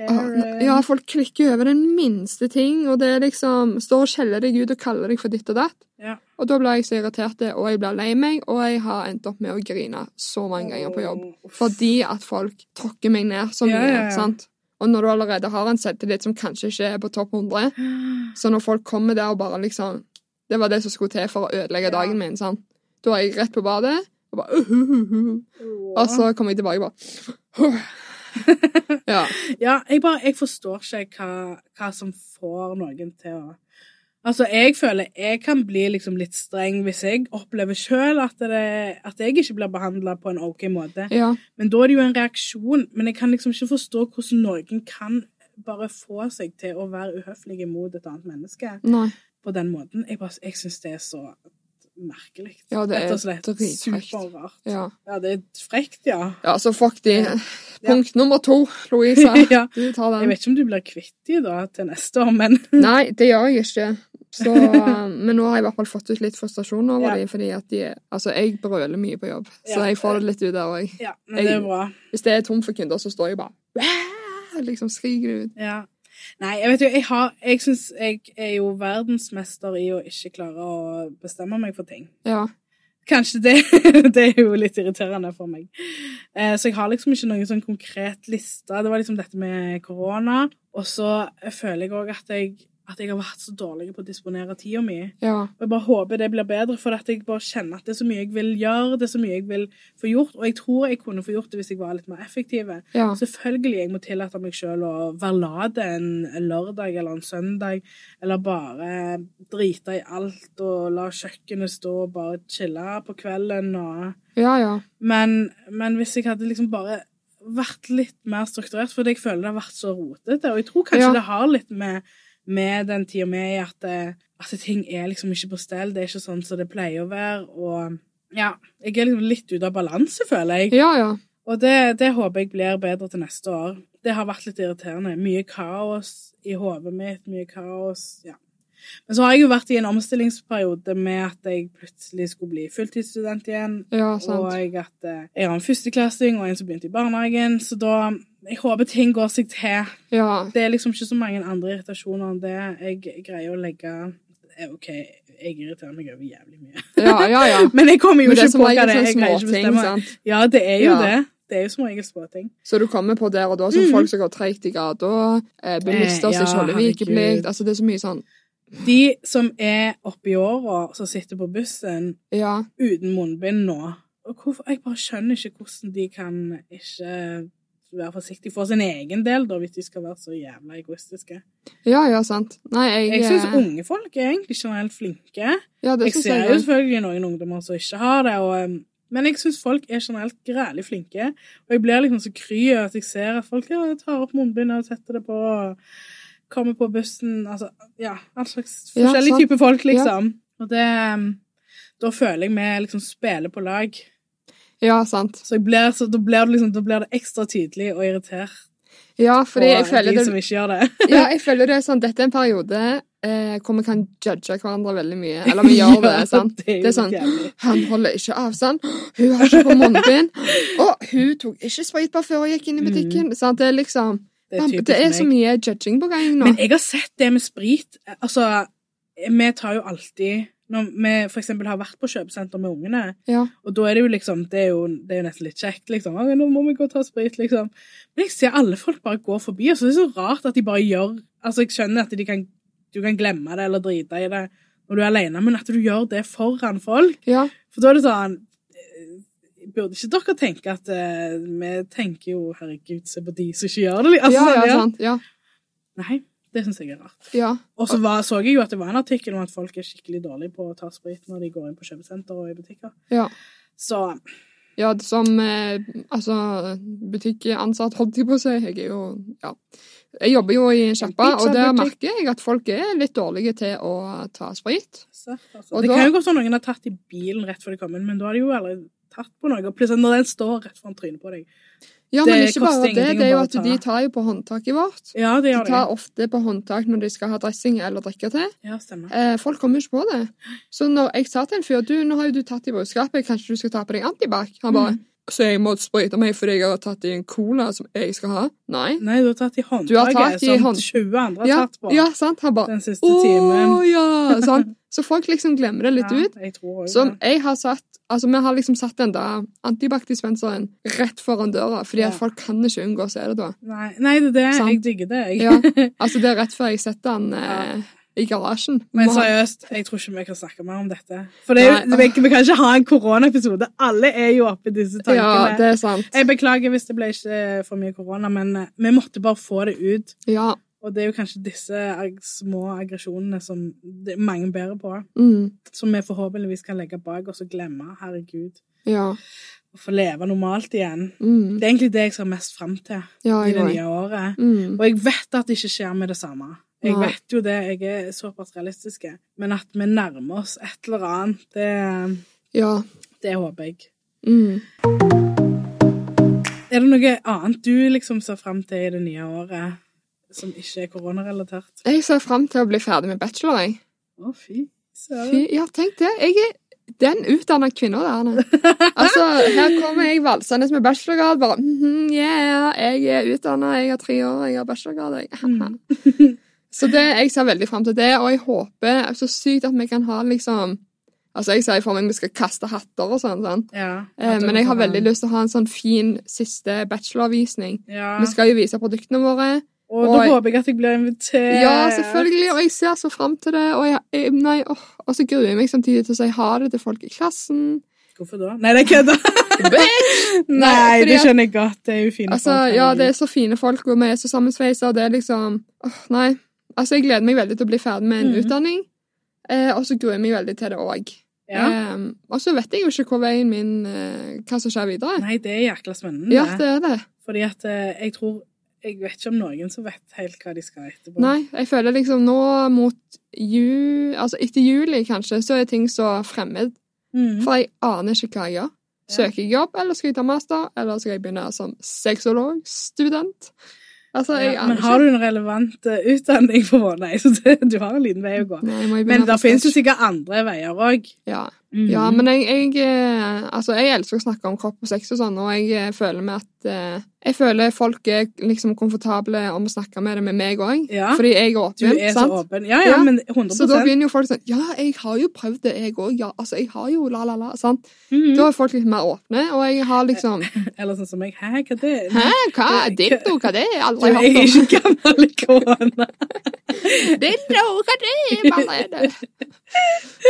A: «Å,
B: Karen.
A: ne- Ja, folk klikker over den minste ting, og det er liksom Står og skjeller deg ut og kaller deg for ditt og datt.
B: Ja.
A: Og da blir jeg så irritert, og jeg blir lei meg, og jeg har endt opp med å grine så mange ganger på jobb.
B: Åh, uff.
A: Fordi at folk tråkker meg ned så mye,
B: Ja, ja, ja.
A: sant? Og når du allerede har en selvtillit som kanskje ikke er på topp 100, Så når folk kommer der og bare liksom Det var det som skulle til for å
B: Ja.
A: ødelegge dagen min. sant? Da er jeg rett på badet, og bare uh, «Uhuhuhu».
B: Åh.
A: Og så kommer jeg tilbake og bare Ja.
B: Ja, jeg bare Jeg forstår ikke hva, hva som får noen til å Altså, jeg føler jeg kan bli liksom litt streng hvis jeg opplever sjøl at, det- at jeg ikke blir behandla på en OK måte.
A: ja.
B: Men da er det jo en reaksjon. Men jeg kan liksom ikke forstå hvordan noen kan bare få seg til å være uhøflige mot et annet menneske
A: Nei.
B: på den måten. Jeg, bare- jeg syns det er så merkelig.
A: Ja, det er
B: Rett og slett
A: dritfrekt.
B: superrart. Ja.
A: Ja.
B: det er frekt, ja.
A: ja, så fuck de.
B: Ja.
A: Punkt nummer to, Louisa.
B: ja.
A: Du tar
B: Jeg
A: den.
B: vet ikke om du blir kvitt de da til neste år, men
A: Nei, det gjør jeg ikke. Så, um, men nå har jeg i hvert fall fått ut litt frustrasjon over
B: Ja.
A: de, fordi at de Altså, jeg brøler mye på jobb, så
B: Ja.
A: jeg får det litt ut der òg.
B: Ja, men det er
A: Jeg-
B: bra.
A: Hvis det er tomt for kunder, så står jeg bare «Wah!» Liksom skriker det ut.
B: Ja. Nei, jeg vet jo, jeg har Jeg syns jeg er jo verdensmester i å ikke klare å bestemme meg for ting.
A: Ja.
B: Kanskje det Det er jo litt irriterende for meg. Eh, så jeg har liksom ikke noen sånn konkret liste. Det var liksom dette med korona. Og så føler jeg òg at jeg at jeg har vært så dårlig på å disponere tida mi.
A: Ja.
B: Og jeg bare håper det blir bedre, for at jeg bare kjenner at det er så mye jeg vil gjøre, det er så mye jeg vil få gjort. Og jeg tror jeg kunne få gjort det hvis jeg var litt mer effektiv.
A: Ja.
B: Selvfølgelig jeg må tillate meg sjøl å være late en lørdag eller en søndag, eller bare drite i alt og la kjøkkenet stå og bare chille på kvelden og
A: Ja, ja.
B: Men, men hvis jeg hadde liksom bare vært litt mer strukturert, fordi jeg føler det har vært så rotete, og jeg tror kanskje
A: Ja.
B: det har litt med, med den tida vi er i, at, eh, at ting er liksom ikke på stell, det er ikke sånn som det pleier å være, og ja, jeg er liksom litt ute av balanse, føler jeg.
A: Ja, ja.
B: Og det, det håper jeg blir bedre til neste år. Det har vært litt irriterende. Mye kaos i hodet mitt, mye kaos Ja. Men så har jeg jo vært i en omstillingsperiode med at jeg plutselig skulle bli fulltidsstudent igjen.
A: Ja,
B: Og
A: sant.
B: jeg, at eh, jeg har en førsteklassing og en som begynte i barnehagen. Så da Jeg håper ting går seg til.
A: Ja.
B: Det er liksom ikke så mange andre irritasjoner enn det. Jeg greier å legge eh, OK, jeg irriterer meg over jævlig mye.
A: Ja, ja, ja.
B: Men jeg kommer jo
A: Men det er
B: ikke
A: som
B: på hva
A: regel
B: det er.
A: sånne
B: Jeg greier ikke å
A: småting,
B: bestemme.
A: sant.
B: Ja, det er jo
A: Ja.
B: det. Det er jo som regel småting.
A: Så du kommer på der og da, som
B: Mm.
A: folk som går treigt i gata, eh, bilister
B: Eh, ja,
A: som ikke holder
B: herregud.
A: vikeplikt Altså, det er så mye sånn
B: De som er oppi åra, som sitter på bussen
A: Ja,
B: uten munnbind nå og hvorfor, Jeg bare skjønner ikke hvordan de kan ikke være forsiktige for sin egen del, da, hvis de skal være så jævla egoistiske.
A: ja, ja sant. Nei, jeg
B: Jeg syns
A: eh,
B: unge folk er egentlig generelt flinke.
A: Ja, det
B: Jeg
A: synes
B: ser jo
A: jeg.
B: selvfølgelig noen ungdommer som ikke har det, og, um, men jeg syns folk er generelt grælig flinke. Og jeg blir liksom så kry av at jeg ser at folk ja, tar opp munnbindet og setter det på, og kommer på bussen Altså, ja, all slags
A: Ja,
B: forskjellige
A: sant.
B: typer folk, liksom. Og det um, Da føler jeg vi liksom spiller på lag.
A: Ja, sant.
B: Så, jeg blir, så da, blir det liksom, da blir det ekstra tydelig og irritert
A: Ja,
B: på
A: fordi jeg føler
B: de
A: det
B: som ikke gjør det.
A: Ja, jeg føler det er sånn Dette er en periode eh, hvor vi kan judge hverandre veldig mye. Eller vi gjør det,
B: Ja,
A: sant?
B: det er jo
A: Det er sånn
B: jævlig.
A: Han holder ikke avstand. Hun har ikke på munnbind. Og hun tok ikke spraytbar før hun gikk inn i
B: Mm.
A: butikken. Sant? Det er liksom
B: Det er,
A: Man- Det er
B: typisk
A: så
B: meg.
A: mye judging på gang nå.
B: Men jeg har sett det med sprit. Altså, vi tar jo alltid Når vi for eksempel har vært på kjøpesenter med ungene,
A: Ja.
B: og da er det jo liksom Det er jo, det er jo nesten litt kjekt, liksom. «Å, 'Nå må vi gå og ta sprit', liksom. Men jeg ser alle folk bare gå forbi, og så er det så rart at de bare gjør Altså, jeg skjønner at de kan, du kan glemme det eller drite i det når du er alene, men at du gjør det foran folk
A: ja.
B: For da er det sånn eh, Burde ikke dere tenke at eh, Vi tenker jo 'herregud, se på de som ikke gjør det',
A: Ja,
B: altså.
A: ja,
B: sånn, ja.
A: sant. Ja.
B: Nei, det syns jeg er rart.
A: ja.
B: Og så var, så jeg jo at det var en artikkel om at folk er skikkelig dårlige på å ta sprit når de går inn på kjøpesenter og i butikker.
A: Ja.
B: Så
A: Ja, det som eh, altså, butikkansatt, holdt jeg på å si. Jeg er jo ja. Jeg jobber jo i en sjappe, og der
B: pizzabutikk.
A: merker jeg at folk er litt dårlige til å ta sprit.
B: sært, altså.
A: Og
B: Det
A: da-
B: kan jo godt være noen har tatt i bilen rett før de kom inn, men da har de jo aldri tatt på noe. Og plutselig når den står rett foran trynet på deg
A: Ja,
B: Det
A: men ikke
B: koster
A: bare det.
B: ingenting å
A: Det er jo
B: bare
A: at
B: ta.
A: de tar jo på håndtaket vårt.
B: Ja, det
A: De
B: gjør det.
A: tar ofte på håndtak når de skal ha dressing eller drikke til.
B: Ja, stemmer.
A: Eh, folk kommer jo ikke på det. Så når jeg sa til en fyr du, nå har jo du tatt i brødskapet, kanskje du skal ta på deg antibac? Han bare
B: Mm.
A: Så jeg må sprøyte meg fordi jeg har tatt i en cola som jeg skal ha? Nei.
B: Nei, du har tatt i
A: Du har
B: håndtaket
A: tatt i
B: som
A: hånd-
B: 20 andre har
A: Ja,
B: Mm, tatt på
A: ja, sant? Han bare
B: den siste
A: Å
B: timen.
A: ja! Sånn. Så folk liksom glemmer det litt ut.
B: Ja, jeg tror også
A: Som
B: det.
A: jeg har satt Altså, vi har liksom satt den der antibac-dispenseren rett foran døra, fordi
B: Ja.
A: at folk kan ikke unngå å se det da.
B: Nei, nei, det er det.
A: Sant.
B: Jeg digger det, jeg.
A: Ja, altså det er rett før jeg setter den eh, i garasjen.
B: Men
A: Må ha-
B: seriøst, jeg tror ikke vi kan snakke mer om dette. For det er, jo-
A: Nei.
B: vi, vi kan ikke ha en koronaepisode. Alle er jo oppe i disse tankene.
A: Ja, det er sant.
B: Jeg beklager hvis det ble ikke for mye korona, men eh, vi måtte bare få det ut.
A: Ja.
B: Og det er jo kanskje disse ag- små aggresjonene som det er mange bærer på,
A: Mm,
B: som vi forhåpentligvis kan legge bak oss og glemme. Herregud.
A: ja.
B: Og få leve normalt igjen.
A: Mm,
B: Det er egentlig det jeg ser mest fram til
A: ja,
B: i
A: jeg
B: det
A: òg.
B: nye året.
A: Mm,
B: Og jeg vet at det ikke skjer med det samme. Jeg
A: Nei.
B: vet jo det, jeg er såpass realistisk. Men at vi nærmer oss et eller annet, det,
A: ja.
B: det håper jeg.
A: Mm.
B: Er det noe annet du liksom ser fram til i det nye året som ikke er koronarelatert?
A: Jeg ser fram til å bli ferdig med bachelor, jeg.
B: Å, fy søren.
A: Fy, ja, tenk det. Jeg er den utdanna kvinna der. Anne. Altså, her kommer jeg valsende med bachelorgrad. Bare mhm, yeah, jeg er utdanna, jeg har tre år, jeg har bachelorgrad. Jeg.
B: Mm.
A: Så det, jeg ser veldig fram til det, og jeg håper så sykt at vi kan ha liksom Altså, jeg ser for meg vi skal kaste hatter og sånn, sant?
B: Ja,
A: Eh, men jeg har veldig lyst til å ha en sånn fin siste bachelorvisning.
B: ja.
A: Vi skal jo vise produktene våre.
B: Og da
A: og-
B: håper jeg at jeg blir invitert.
A: Ja, selvfølgelig, og jeg ser så fram til det. Og, jeg, jeg, nei, åh, og så gruer jeg meg samtidig til å si ha det til folk i klassen.
B: Hvorfor da? Nei, det er kødda. Nei,
A: fordi
B: det
A: at-
B: skjønner jeg godt. Det er jo fine
A: Altså,
B: folk,
A: ja,
B: herregud.
A: det er så fine folk, og vi er så sammensveisa, og det er liksom åh, Nei. Altså, jeg gleder meg veldig til å bli ferdig med en
B: Mhm.
A: utdanning, eh, og så gruer jeg meg veldig til det òg.
B: ja.
A: og så vet jeg jo ikke hvor veien min eh, Hva som skjer videre.
B: Nei, det er jækla spennende.
A: Ja, det er det.
B: Fordi at eh, jeg tror Jeg vet ikke om noen som vet helt hva de skal etterpå.
A: Nei, jeg føler liksom nå mot ju... Altså etter juli, kanskje, så er ting så fremmed.
B: Mm.
A: For jeg aner ikke hva jeg gjør. Søker jeg jobb, eller skal jeg ta master, eller skal jeg begynne som sexologstudent? Altså, jeg
B: Ja,
A: aner
B: men
A: ikke.
B: har du en relevant eh, utdanning på Vårnei, så det, du har en liten vei å gå.
A: Nei, jeg må jo begynne
B: Men det Mm.
A: på
B: finnes jo
A: scratch.
B: sikkert andre veier òg.
A: ja. ja, men jeg, jeg eh, Altså, jeg elsker å snakke om kropp og sex og sånn, og jeg eh, føler med at eh, Jeg føler folk er liksom komfortable om å snakke med det med meg òg,
B: Ja.
A: fordi jeg er
B: Du
A: åpen.
B: er så
A: sant?
B: åpen. Ja, ja,
A: Ja.
B: men 100
A: Så da begynner jo folk sånn Ja, jeg har jo prøvd det, jeg òg. Ja, altså, jeg har jo la, la, la. Sant?
B: Mhm.
A: Da er folk litt mer åpne, og jeg har liksom
B: Eller sånn som meg. Hæ, hva er det?
A: Hæ, hva er dildo? Hva er det? Jeg har
B: Du,
A: Aldri
B: jeg er
A: hørt om
B: ikke gammel i korona.
A: dildo! Hva er det? Hva er det?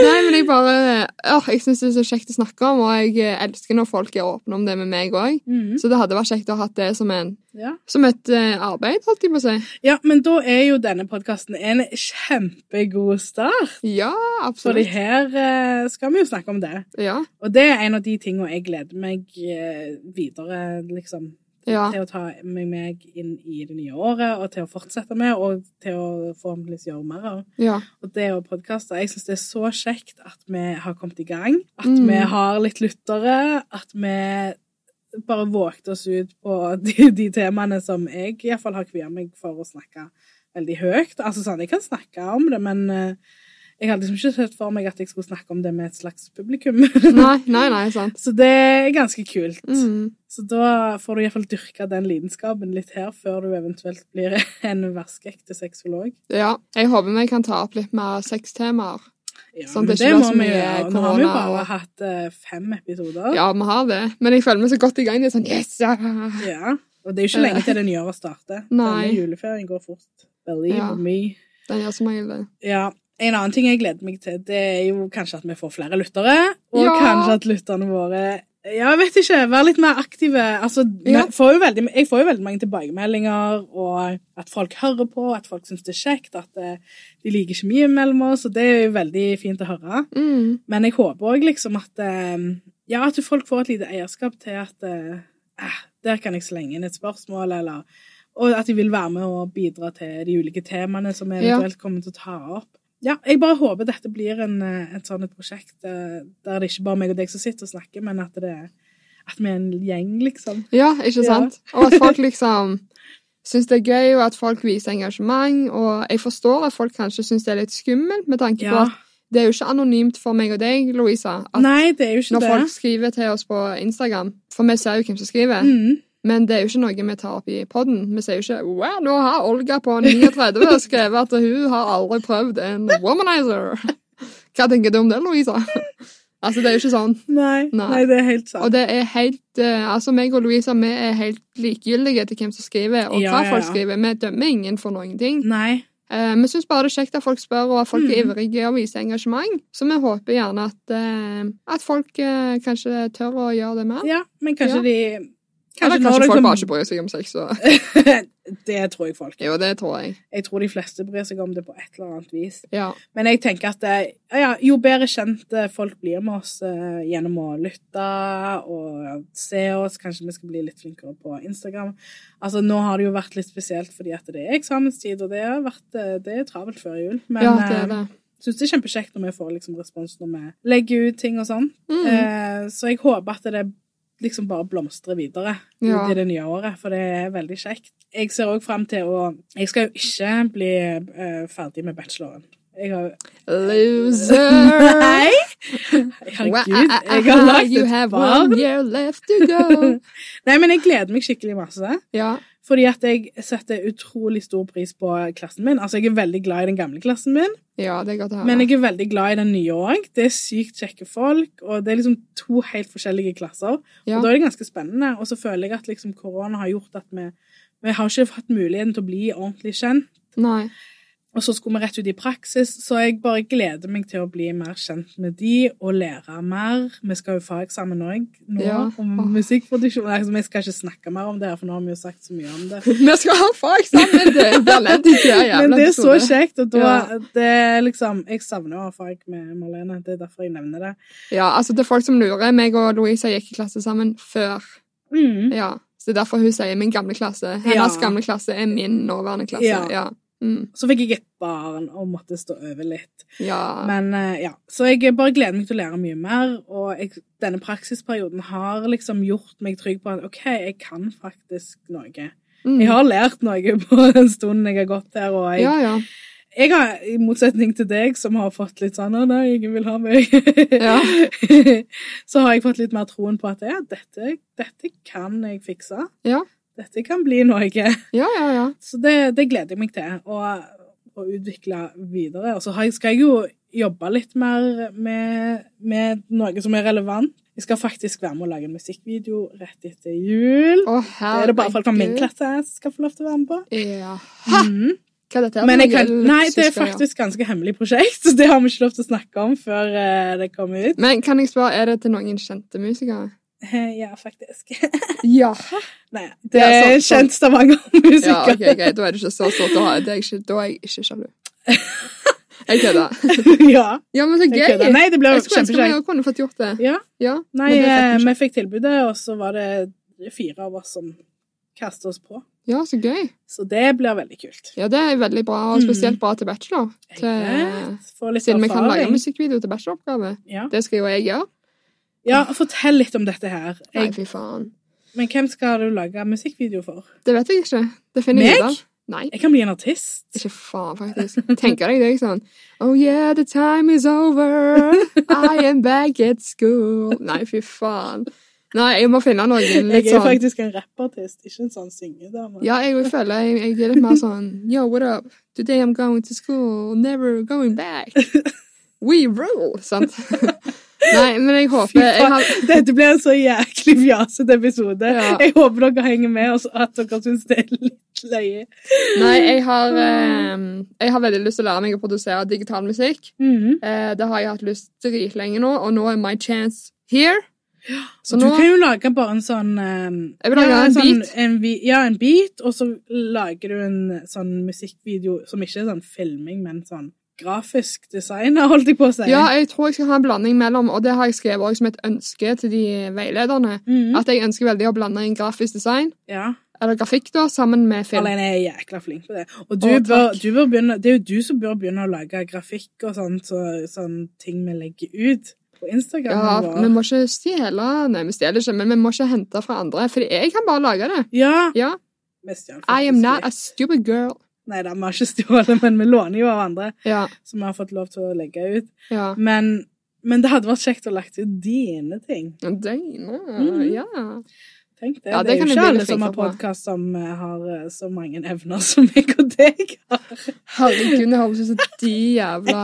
A: Nei, men jeg bare Åh, Jeg syns det er så kjekt å snakke om, og jeg eh, elsker når folk er åpne om det med meg òg.
B: Mhm.
A: Så det hadde vært kjekt å ha hatt det som, en,
B: Ja.
A: som et eh, arbeid, holdt jeg på å si.
B: ja, men da er jo denne podkasten en kjempegod start.
A: Ja,
B: Fordi
A: absolutt.
B: her eh, skal vi jo snakke om det.
A: Ja.
B: Og det er en av de tingene jeg gleder meg eh, videre liksom,
A: Ja.
B: til å ta med meg inn i det nye året, og til å fortsette med, og til å forhåpentligvis gjøre mer av.
A: ja.
B: Og det å podkaste Jeg syns det er så kjekt at vi har kommet i gang. At
A: Mm.
B: vi har litt lyttere. At vi bare vågte oss ut på de, de temaene som jeg iallfall har kvia meg for å snakke veldig høyt. Altså sånn, jeg kan snakke om det, men eh, jeg hadde liksom ikke sett for meg at jeg skulle snakke om det med et slags publikum.
A: Nei, nei, nei, sant.
B: Så det er ganske kult.
A: Mm.
B: Så da får du iallfall dyrka den lidenskapen litt her, før du eventuelt blir en vaskeekte sexolog.
A: Ja. Jeg håper vi kan ta opp litt mer sextemaer.
B: Ja,
A: Sånn,
B: men
A: det er
B: det
A: ikke
B: må
A: så
B: vi
A: mye
B: gjøre. Nå har vi jo
A: korona
B: bare
A: og-
B: hatt eh, fem episoder.
A: Ja, vi har det. Men jeg føler meg så godt i gang. Det er sånn Yes! Ja.
B: Ja, Og det er jo ikke lenge til det nye året starter.
A: Nei.
B: Denne juleferien går fort. Believe
A: Ja.
B: me.
A: Den gjør som regel det.
B: Ja. En annen ting jeg gleder meg til, det er jo kanskje at vi får flere lyttere. Og
A: Ja.
B: kanskje at lytterne våre ja, jeg vet ikke. Vær litt mer aktive. Altså, vi
A: Ja.
B: får jo veldig, jeg får jo veldig mange tilbakemeldinger, og at folk hører på, at folk syns det er kjekt, at eh, de liker kjemien mellom oss, og det er jo veldig fint å høre.
A: Mm.
B: Men jeg håper òg liksom at eh, Ja, at folk får et lite eierskap til at eh, eh, Der kan jeg slenge inn et spørsmål, eller Og at de vil være med og bidra til de ulike temaene som vi
A: Ja.
B: eventuelt kommer til å ta opp. Ja, jeg bare håper dette blir en, eh, et sånn et prosjekt eh, der det ikke bare er meg og deg som sitter og snakker, men at det er at vi er en gjeng, liksom.
A: Ja, ikke
B: Ja.
A: sant? Og at folk liksom syns det er gøy, og at folk viser engasjement. Og jeg forstår at folk kanskje syns det er litt skummelt, med tanke på
B: Ja.
A: at det er jo ikke anonymt for meg og deg, Louisa. At
B: Nei, det er jo ikke
A: når
B: det.
A: folk skriver til oss på Instagram For vi ser jo hvem som skriver,
B: Mm.
A: men det er jo ikke noe vi tar opp i poden. Vi sier jo ikke Wow, nå har Olga på 39 skrevet at hun har aldri prøvd en womanizer. Hva tenker du om det, Louisa? Altså, det er jo ikke sånn.
B: Nei,
A: Nei.
B: nei, det er helt sant.
A: Og det er helt eh, Altså, meg og Louisa vi er helt likegyldige til hvem som skriver, og
B: Ja,
A: hva
B: ja,
A: folk
B: ja.
A: skriver. Vi dømmer ingen for noen ting.
B: Nei.
A: Eh, vi syns bare det er kjekt at folk spør, og at folk er
B: Mm.
A: ivrige og viser engasjement. Så vi håper gjerne at, eh, at folk eh, kanskje tør å gjøre det mer.
B: Ja, men kanskje
A: Ja.
B: de
A: Eller
B: når
A: kanskje folk
B: liksom-
A: bare ikke bryr seg om sex. Så.
B: Det tror jeg folk
A: Jo, det tror jeg.
B: Jeg tror de fleste bryr seg om det på et eller annet vis.
A: Ja.
B: Men jeg tenker at eh, ja, jo bedre kjent eh, folk blir med oss eh, gjennom å lytte og se oss, kanskje vi skal bli litt flinkere på Instagram. Altså, nå har det jo vært litt spesielt fordi at det er eksamenstid, og det, har vært, eh, det er travelt før jul. Men eh,
A: ja,
B: jeg
A: det er det.
B: syns det er kjempekjekt når vi får liksom, respons når vi legger ut ting og sånn.
A: Mm.
B: Eh, så jeg håper at det liksom bare blomstrer videre
A: Ja.
B: ut i det nye året, for det er veldig kjekt. Jeg ser òg fram til å Jeg skal jo ikke bli eh, ferdig med bacheloren. Jeg har
A: Loser!
B: Nei! Herregud, jeg har lagt
A: You
B: et
A: have one
B: barn.
A: year left to go.
B: Nei, men jeg gleder meg skikkelig masse.
A: Ja.
B: Fordi at jeg setter utrolig stor pris på klassen min. Altså, jeg er veldig glad i den gamle klassen min,
A: ja, det er godt å høre.
B: men jeg er veldig glad i den nye òg. Det er sykt kjekke folk, og det er liksom to helt forskjellige klasser.
A: ja.
B: Og da er det ganske spennende. Og så føler jeg at liksom korona har gjort at vi Vi har ikke hatt muligheten til å bli ordentlig kjent.
A: Nei.
B: Og så skulle vi rett ut i praksis, så jeg bare gleder meg til å bli mer kjent med de og lære mer. Vi skal jo fageksamen òg nå,
A: Ja.
B: om
A: Åh.
B: musikkproduksjon. Nei, altså, vi skal ikke snakke mer om det, her, for nå har vi jo sagt så mye om det.
A: Vi skal ha fag sammen! Det er bare ledd i hver jævla
B: Men det er så
A: episode.
B: kjekt, og da
A: Ja.
B: det er liksom Jeg savner å ha fag med Marlene, det er derfor jeg nevner det.
A: Ja, altså til folk som lurer, meg og Louisa gikk i klasse sammen før.
B: Mm.
A: Ja, Så det er derfor hun sier min gamle klasse. Hennes
B: Ja.
A: gamle klasse er min nåværende klasse.
B: Ja.
A: Ja. Mm.
B: Så fikk jeg et barn og måtte stå over litt.
A: Ja.
B: Men eh, ja, Så jeg bare gleder meg til å lære mye mer. Og jeg, denne praksisperioden har liksom gjort meg trygg på at OK, jeg kan faktisk noe.
A: Mm.
B: Jeg har lært noe på den stunden jeg har gått der, og jeg,
A: Ja, ja.
B: jeg har, i motsetning til deg, som har fått litt sånn 'Å nei, ingen vil ha meg',
A: Ja.
B: så har jeg fått litt mer troen på at ja, dette, dette kan jeg fikse.
A: Ja.
B: Dette kan bli noe.
A: Ja, ja, ja.
B: Så det, det gleder jeg meg til å, å utvikle videre. Og så har jeg, skal jeg jo jobbe litt mer med, med noe som er relevant. Jeg skal faktisk være med å lage en musikkvideo rett etter jul.
A: Å,
B: Det
A: herregud.
B: er det bare folk fra min klasse som skal få lov til å være med på.
A: Ja.
B: Mhm.
A: Hva er dette? her
B: Men
A: for
B: jeg
A: noe
B: kan, nei, det er
A: luksus greier?
B: faktisk ganske hemmelig prosjekt, så det har vi ikke lov til å snakke om før eh, det kommer ut.
A: Men kan jeg spørre, er det til noen kjente musikere?
B: Eh, Ja, faktisk.
A: Ja.
B: Nei, det
A: Ja,
B: er
A: sånn-
B: en
A: sånn.
B: kjent Stavanger-musiker.
A: Ja, ok, greit. Da er det ikke så stort. Da er jeg ikke, da er jeg ikke sjalu. Jeg kødder.
B: ja,
A: Ja, men så
B: jeg
A: gøy!
B: kødder. Nei, det ble
A: Jeg skulle ønske vi
B: kjempekjekt.
A: også kunne fått gjort det.
B: Ja.
A: Ja,
B: Nei,
A: men det
B: eh,
A: fikk vi ikke.
B: vi fikk tilbudet, og så var det fire av oss som kastet oss på.
A: ja så gøy.
B: Så det blir veldig kult.
A: Ja, det er veldig bra, og spesielt bra til bachelor.
B: Mm. Jeg
A: Til,
B: vet, Få litt
A: eh, siden vi kan lage
B: erfaring.
A: musikkvideo til bacheloroppgave.
B: Ja.
A: Det skal jo jeg gjøre.
B: ja, fortell litt om dette her.
A: Nei,
B: Jeg,
A: fy faen.
B: men hvem skal du lage musikkvideo for?
A: Det vet jeg ikke. Det finner jeg
B: Meg?
A: ut av. Nei.
B: Jeg kan bli en artist.
A: Ikke faen, faktisk. Tenker deg det, ikke sånn Oh yeah, the time is over. I am back at school. Nei, fy faen. Nei, jeg må finne noen
B: Jeg
A: litt
B: er
A: sånn
B: faktisk en rappartist, ikke en sånn syngedame.
A: Ja, jeg føler jeg, jeg er litt mer sånn Yo, what up? Today I'm going to school. Never going back. We rule, sant? Nei, men jeg
B: Fy
A: håper jeg
B: faen,
A: har,
B: Dette blir en så jæklig fjasete episode.
A: Ja.
B: Jeg håper dere henger med, og så- at dere syns det er litt løye.
A: Nei, jeg har eh, Jeg har veldig lyst til å lære meg å produsere digital musikk.
B: Mhm.
A: Eh, det har jeg hatt lyst dritlenge nå, og nå er my chance here. Så
B: Du
A: nå
B: kan jo lage bare en sånn eh,
A: Jeg vil lage
B: ja,
A: en
B: sånn,
A: beat.
B: En vi, ja, en beat, og så lager du en sånn musikkvideo som ikke er sånn filming, men sånn grafisk designer, holdt jeg på å si.
A: Ja, jeg tror jeg skal ha en blanding mellom, og det har jeg skrevet også som et ønske til de veilederne.
B: Mhm.
A: At jeg ønsker veldig å blande inn grafisk design,
B: ja.
A: eller grafikk, da, sammen med film.
B: Alene er jækla flink på det. Og du
A: Å, takk.
B: bør, du bør begynne, det er jo du som bør begynne å lage grafikk og sånn, så, sånn ting vi legger ut på Instagram.
A: Ja,
B: vår.
A: Vi må ikke stjele Nei, vi stjeler ikke, men vi må ikke hente fra andre. For jeg kan bare lage det.
B: ja.
A: Ja.
B: vi stjal
A: I
B: faktisk
A: am not a
B: litt.
A: stupid girl.
B: Nei da, vi har ikke stjålet, men vi låner jo av andre
A: Ja.
B: som vi har fått lov til å legge ut.
A: ja.
B: Men, men det hadde vært kjekt å lagt ut dine ting.
A: Døgnet.
B: Mhm.
A: Ja.
B: Tenk det.
A: Ja,
B: det,
A: det
B: er jo
A: kan jeg bli
B: ikke
A: litt
B: alle som har
A: flinkere på.
B: podkast som eh, har eh, så mange evner som meg og deg har.
A: Herregud, det høres ut som de jævla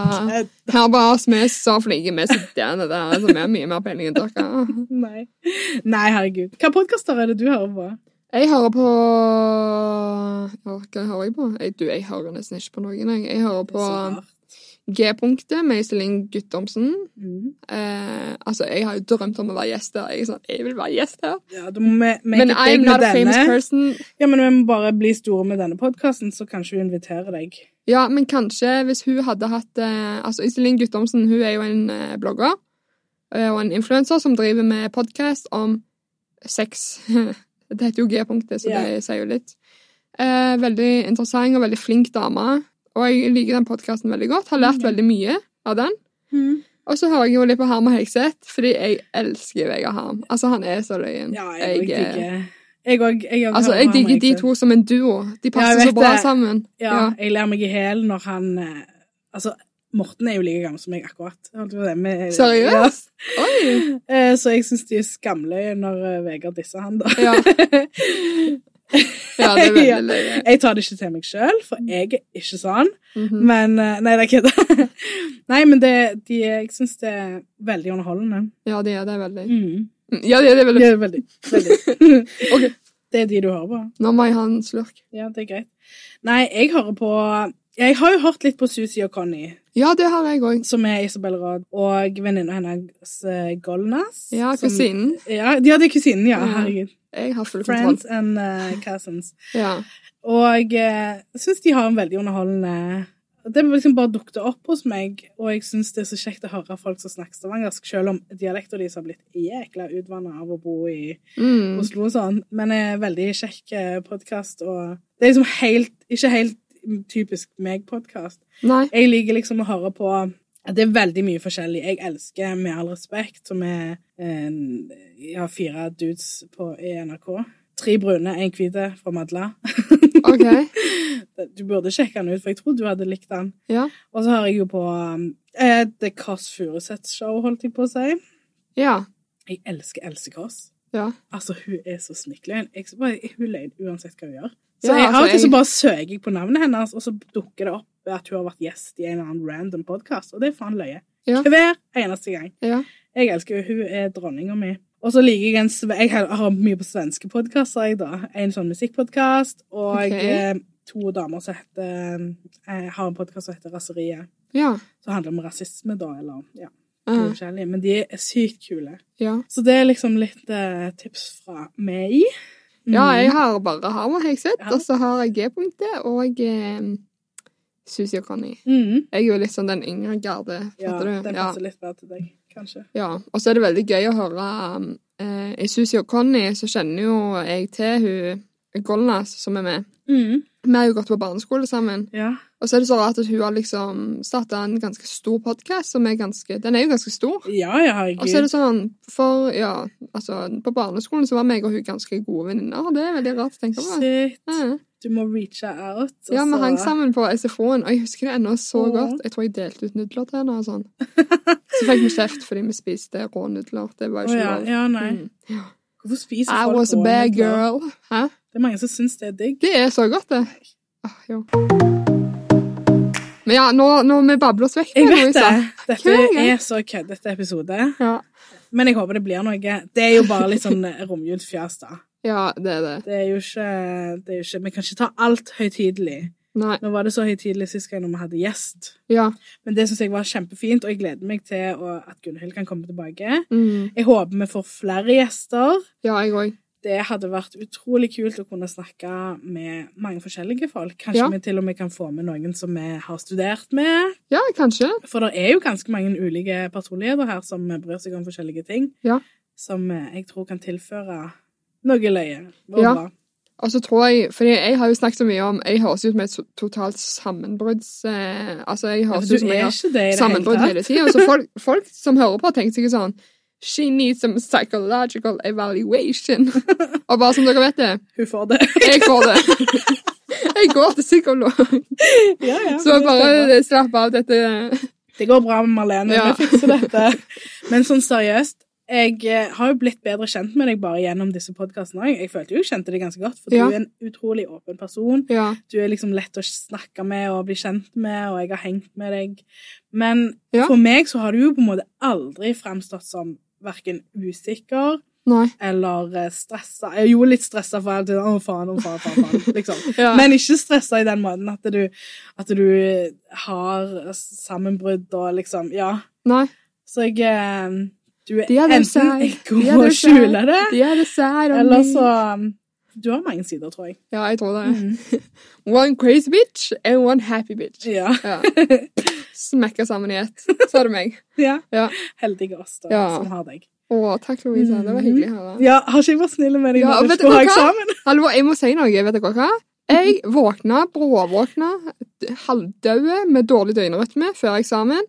A: Her bare oss, vi er så flinke, vi sitter der, altså, vi har mye mer peiling enn dere.
B: Nei. Nei, herregud. Hvilke podkaster er det du hører på?
A: Jeg hører på ja, Hva hører jeg på? Jeg, du, jeg hører nesten ikke på noen. Jeg, jeg hører
B: Det er
A: på
B: så rart.
A: G-punktet med Iselin Guttormsen.
B: Mhm.
A: Eh, altså, jeg har jo drømt om å være gjest der. Jeg er sånn, jeg vil være gjest der.
B: Ja, da må vi make
A: Men
B: it
A: I'm
B: big med
A: not a famous
B: denne.
A: person.
B: Ja, men vi må bare bli store med denne podkasten, så kanskje vi inviterer deg.
A: Ja, men kanskje hvis hun hadde hatt eh, Altså, Iselin Guttormsen hun er jo en eh, blogger eh, og en influenser som driver med podkast om sex. det heter jo G-punktet, så
B: Ja.
A: det sier jo litt. Eh, veldig interessant og veldig flink dame. Og jeg liker den podkasten veldig godt. Har lært
B: Mhm.
A: veldig mye av den. Og så hører jeg jo litt på Harm og Hegseth, fordi jeg elsker Vegard Harm. Altså, han er så løyen.
B: Ja, jeg òg
A: eh,
B: digger Jeg òg. Jeg, òg
A: Altså,
B: hører
A: jeg
B: på han,
A: digger de
B: jeg.
A: to som en duo. De passer
B: jeg vet
A: så bra
B: det.
A: sammen.
B: Ja, jeg ler meg i hjel når han eh, Altså, Morten er jo like gammel som meg, akkurat. Holdt jeg på å si, men-
A: Seriøst? Oi!
B: Ja. Eh, Så jeg syns de er skamløye når eh, Vegard disser han, da.
A: Ja. ja, det er
B: Ja.
A: veldig løye.
B: Jeg tar det ikke til meg sjøl, for
A: Mm.
B: jeg er ikke sånn.
A: Mhm.
B: Men eh, Nei, det er kødda. Nei, men det, de, jeg syns det er veldig underholdende.
A: Ja, det er det veldig.
B: Mm.
A: Ja, det er det veldig.
B: Ja, veldig. veldig.
A: Ok,
B: Det er de du hører på.
A: nå må jeg ha en slurk.
B: Ja, det er greit. Nei, jeg hører på Jeg har jo hørt litt på Susi og Conny,
A: Ja, det har jeg òg.
B: som er Isabel Rad, og venninna hennes eh, Golnas.
A: Ja,
B: som-
A: kusinen. Mm.
B: Ja, ja, det er kusinen, ja.
A: Ja.
B: Herregud.
A: Jeg har full kontroll.
B: Friends and eh, cousins.
A: Ja.
B: Og eh, jeg syns de har en veldig underholdende Det liksom bare dukket opp hos meg, og jeg syns det er så kjekt å høre folk som snakker stavangersk, selv om dialekten deres har blitt jækla utvanna av å bo i
A: Mm.
B: eh, Oslo og sånn. Men det er en veldig kjekk podkast, og det er liksom helt, ikke helt typisk meg-podkast.
A: Nei.
B: Jeg liker liksom å høre på at det er veldig mye forskjellig. Jeg elsker Med all respekt, som er en, ja, fire dudes på i NRK. Tre brune, én hvite fra Madla.
A: OK.
B: Du burde sjekke den ut, for jeg tror du hadde likt den.
A: Ja.
B: Og så hører jeg jo på eh, The Kåss Furuseths show, holdt jeg på å si.
A: Ja.
B: Jeg elsker Else Kåss.
A: Ja.
B: Altså, hun er så snikkløgn. Jeg, bare- hun løgn uansett hva hun gjør. Så
A: Ja,
B: jeg,
A: altså,
B: av og til så
A: jeg-
B: bare søker jeg på navnet hennes, og så dukker det opp at hun har vært gjest i en eller annen random podkast, og det er faen løye.
A: Ja.
B: Hver eneste gang.
A: Ja.
B: Jeg elsker henne. Hun er dronninga mi. Og så liker jeg en sve- Jeg har har mye på svenske podkaster, jeg, da. En sånn musikkpodkast, og
A: Ok.
B: eh, to damer som heter eh, Jeg har en podkast som heter Raseriet,
A: Ja.
B: som handler om rasisme, da, eller ja,
A: Eh,
B: forskjellig. Men de er sykt kule.
A: ja.
B: Så det er liksom litt eh, tips fra meg. Mm.
A: ja, jeg har bare Harvard Hegseth,
B: Ja.
A: og så har jeg G-punktet og eh, Susi og Conny.
B: Mhm.
A: Jeg er jo litt sånn den yngre garde,
B: Ja,
A: fatter du?
B: den passer litt bedre til deg, kanskje.
A: Ja, og så er det veldig gøy å høre um, eh, I Susi og Conny så kjenner jo jeg til hun Golnas som er med.
B: Mhm.
A: Vi har jo gått på barneskole sammen.
B: Ja.
A: Og så er det så rart at hun har liksom starta en ganske stor podkast, som er ganske Den er jo ganske stor.
B: ja, ja,
A: Og så er
B: herregud.
A: det sånn For ja, altså På barneskolen så var meg og hun ganske gode venninner, og det er veldig rart å tenke på.
B: Shit.
A: sånn Ja.
B: Du må reache out. altså. og
A: Ja, vi
B: så-
A: hang sammen på SFO-en, og jeg husker det ennå så
B: Åh.
A: godt. Jeg tror jeg delte ut nudler til henne og sånn. Så fikk vi kjeft fordi vi spiste rå nudler. Det var
B: Å
A: jo ikke
B: ja.
A: lov.
B: ja, nei.
A: Mm.
B: Hvorfor spiser
A: I
B: folk
A: was a
B: rånudler?
A: bad girl. Hæ?
B: Det er mange som syns det er digg.
A: Det er så godt, det. Ah, jo. Men ja, nå, nå vi babler oss vekk.
B: Jeg
A: nå,
B: vet
A: Louisa.
B: det.
A: Hver
B: Dette
A: gang.
B: er så køddete episode.
A: Ja.
B: Men jeg håper det blir noe. Det er jo bare litt sånn romjulsfjas, da.
A: ja, det er det.
B: Det er jo ikke, det er jo ikke Vi kan ikke ta alt høytidelig.
A: Nei.
B: Nå var det så høytidelig sist gang når vi hadde gjest.
A: Ja.
B: Men det syns jeg var kjempefint, og jeg gleder meg til å, at Gunhild kan komme tilbake.
A: Mm.
B: Jeg håper vi får flere gjester.
A: Ja, jeg òg.
B: Det hadde vært utrolig kult å kunne snakke med mange forskjellige folk. Kanskje
A: Ja.
B: vi til og med kan få med noen som vi har studert med.
A: Ja, kanskje.
B: For det er jo ganske mange ulike personligheter her som bryr seg om forskjellige ting.
A: Ja.
B: Som eh, jeg tror kan tilføre noe løye. og
A: Ja.
B: bra.
A: Og så tror jeg Fordi jeg har jo snakket så mye om Jeg høres ut som et so- totalt sammenbrudds... Eh, altså, jeg
B: Ja,
A: høres
B: for
A: ut
B: du
A: som jeg
B: er
A: har
B: ikke det i det
A: sammenbrudd
B: hele tatt.
A: hele tida. Så folk, folk som hører på, tenker sikkert sånn She needs some psychological evaluation. Og bare som dere vet det,
B: Hun får det.
A: jeg får det. Jeg går til psykolog,
B: ja, ja,
A: så
B: det stemmer.
A: bare eh, slapp av dette.
B: Det går bra med Marlene,
A: Ja.
B: vi fikser dette. Men sånn seriøst, jeg eh, har jo blitt bedre kjent med deg bare gjennom disse podkastene òg. Jeg følte jo jeg kjente deg ganske godt, for
A: Ja.
B: du er en utrolig åpen person.
A: Ja,
B: Du er liksom lett å snakke med og bli kjent med, og jeg har hengt med deg. Men
A: Ja.
B: for meg så har du jo på en måte aldri fremstått som verken usikker
A: nei.
B: eller eh, stressa. Jeg er jo litt stressa for alt. Å, faen, å, faen, faen, faen. Liksom.
A: Ja.
B: Men ikke stressa i den måten at du, at du har sammenbrudd og liksom Ja.
A: nei.
B: Så jeg eh, Du er
A: De er det
B: enten
A: seg.
B: jeg
A: De
B: god
A: er
B: og
A: det seg.
B: skjuler det,
A: De er det sær og
B: eller
A: ny.
B: så um, Du har mange sider, tror jeg. Mm.
A: Ja, jeg tror det. Mm. One crazy bitch and one happy bitch.
B: Ja.
A: Ja. Smekka sammen i ett. Så er det meg.
B: ja.
A: Ja.
B: Heldige oss, da,
A: Ja.
B: som har deg.
A: Å, takk, Louisa. Det var hyggelig å høre.
B: Ja, Har ikke jeg vært snill med deg
A: Ja,
B: når
A: vet
B: du
A: dere
B: skulle ha
A: hva?
B: eksamen?
A: Hallo, jeg må si noe. Vet dere hva? Jeg våkna, bråvåkna, halvdaue med dårlig døgnrytme før eksamen.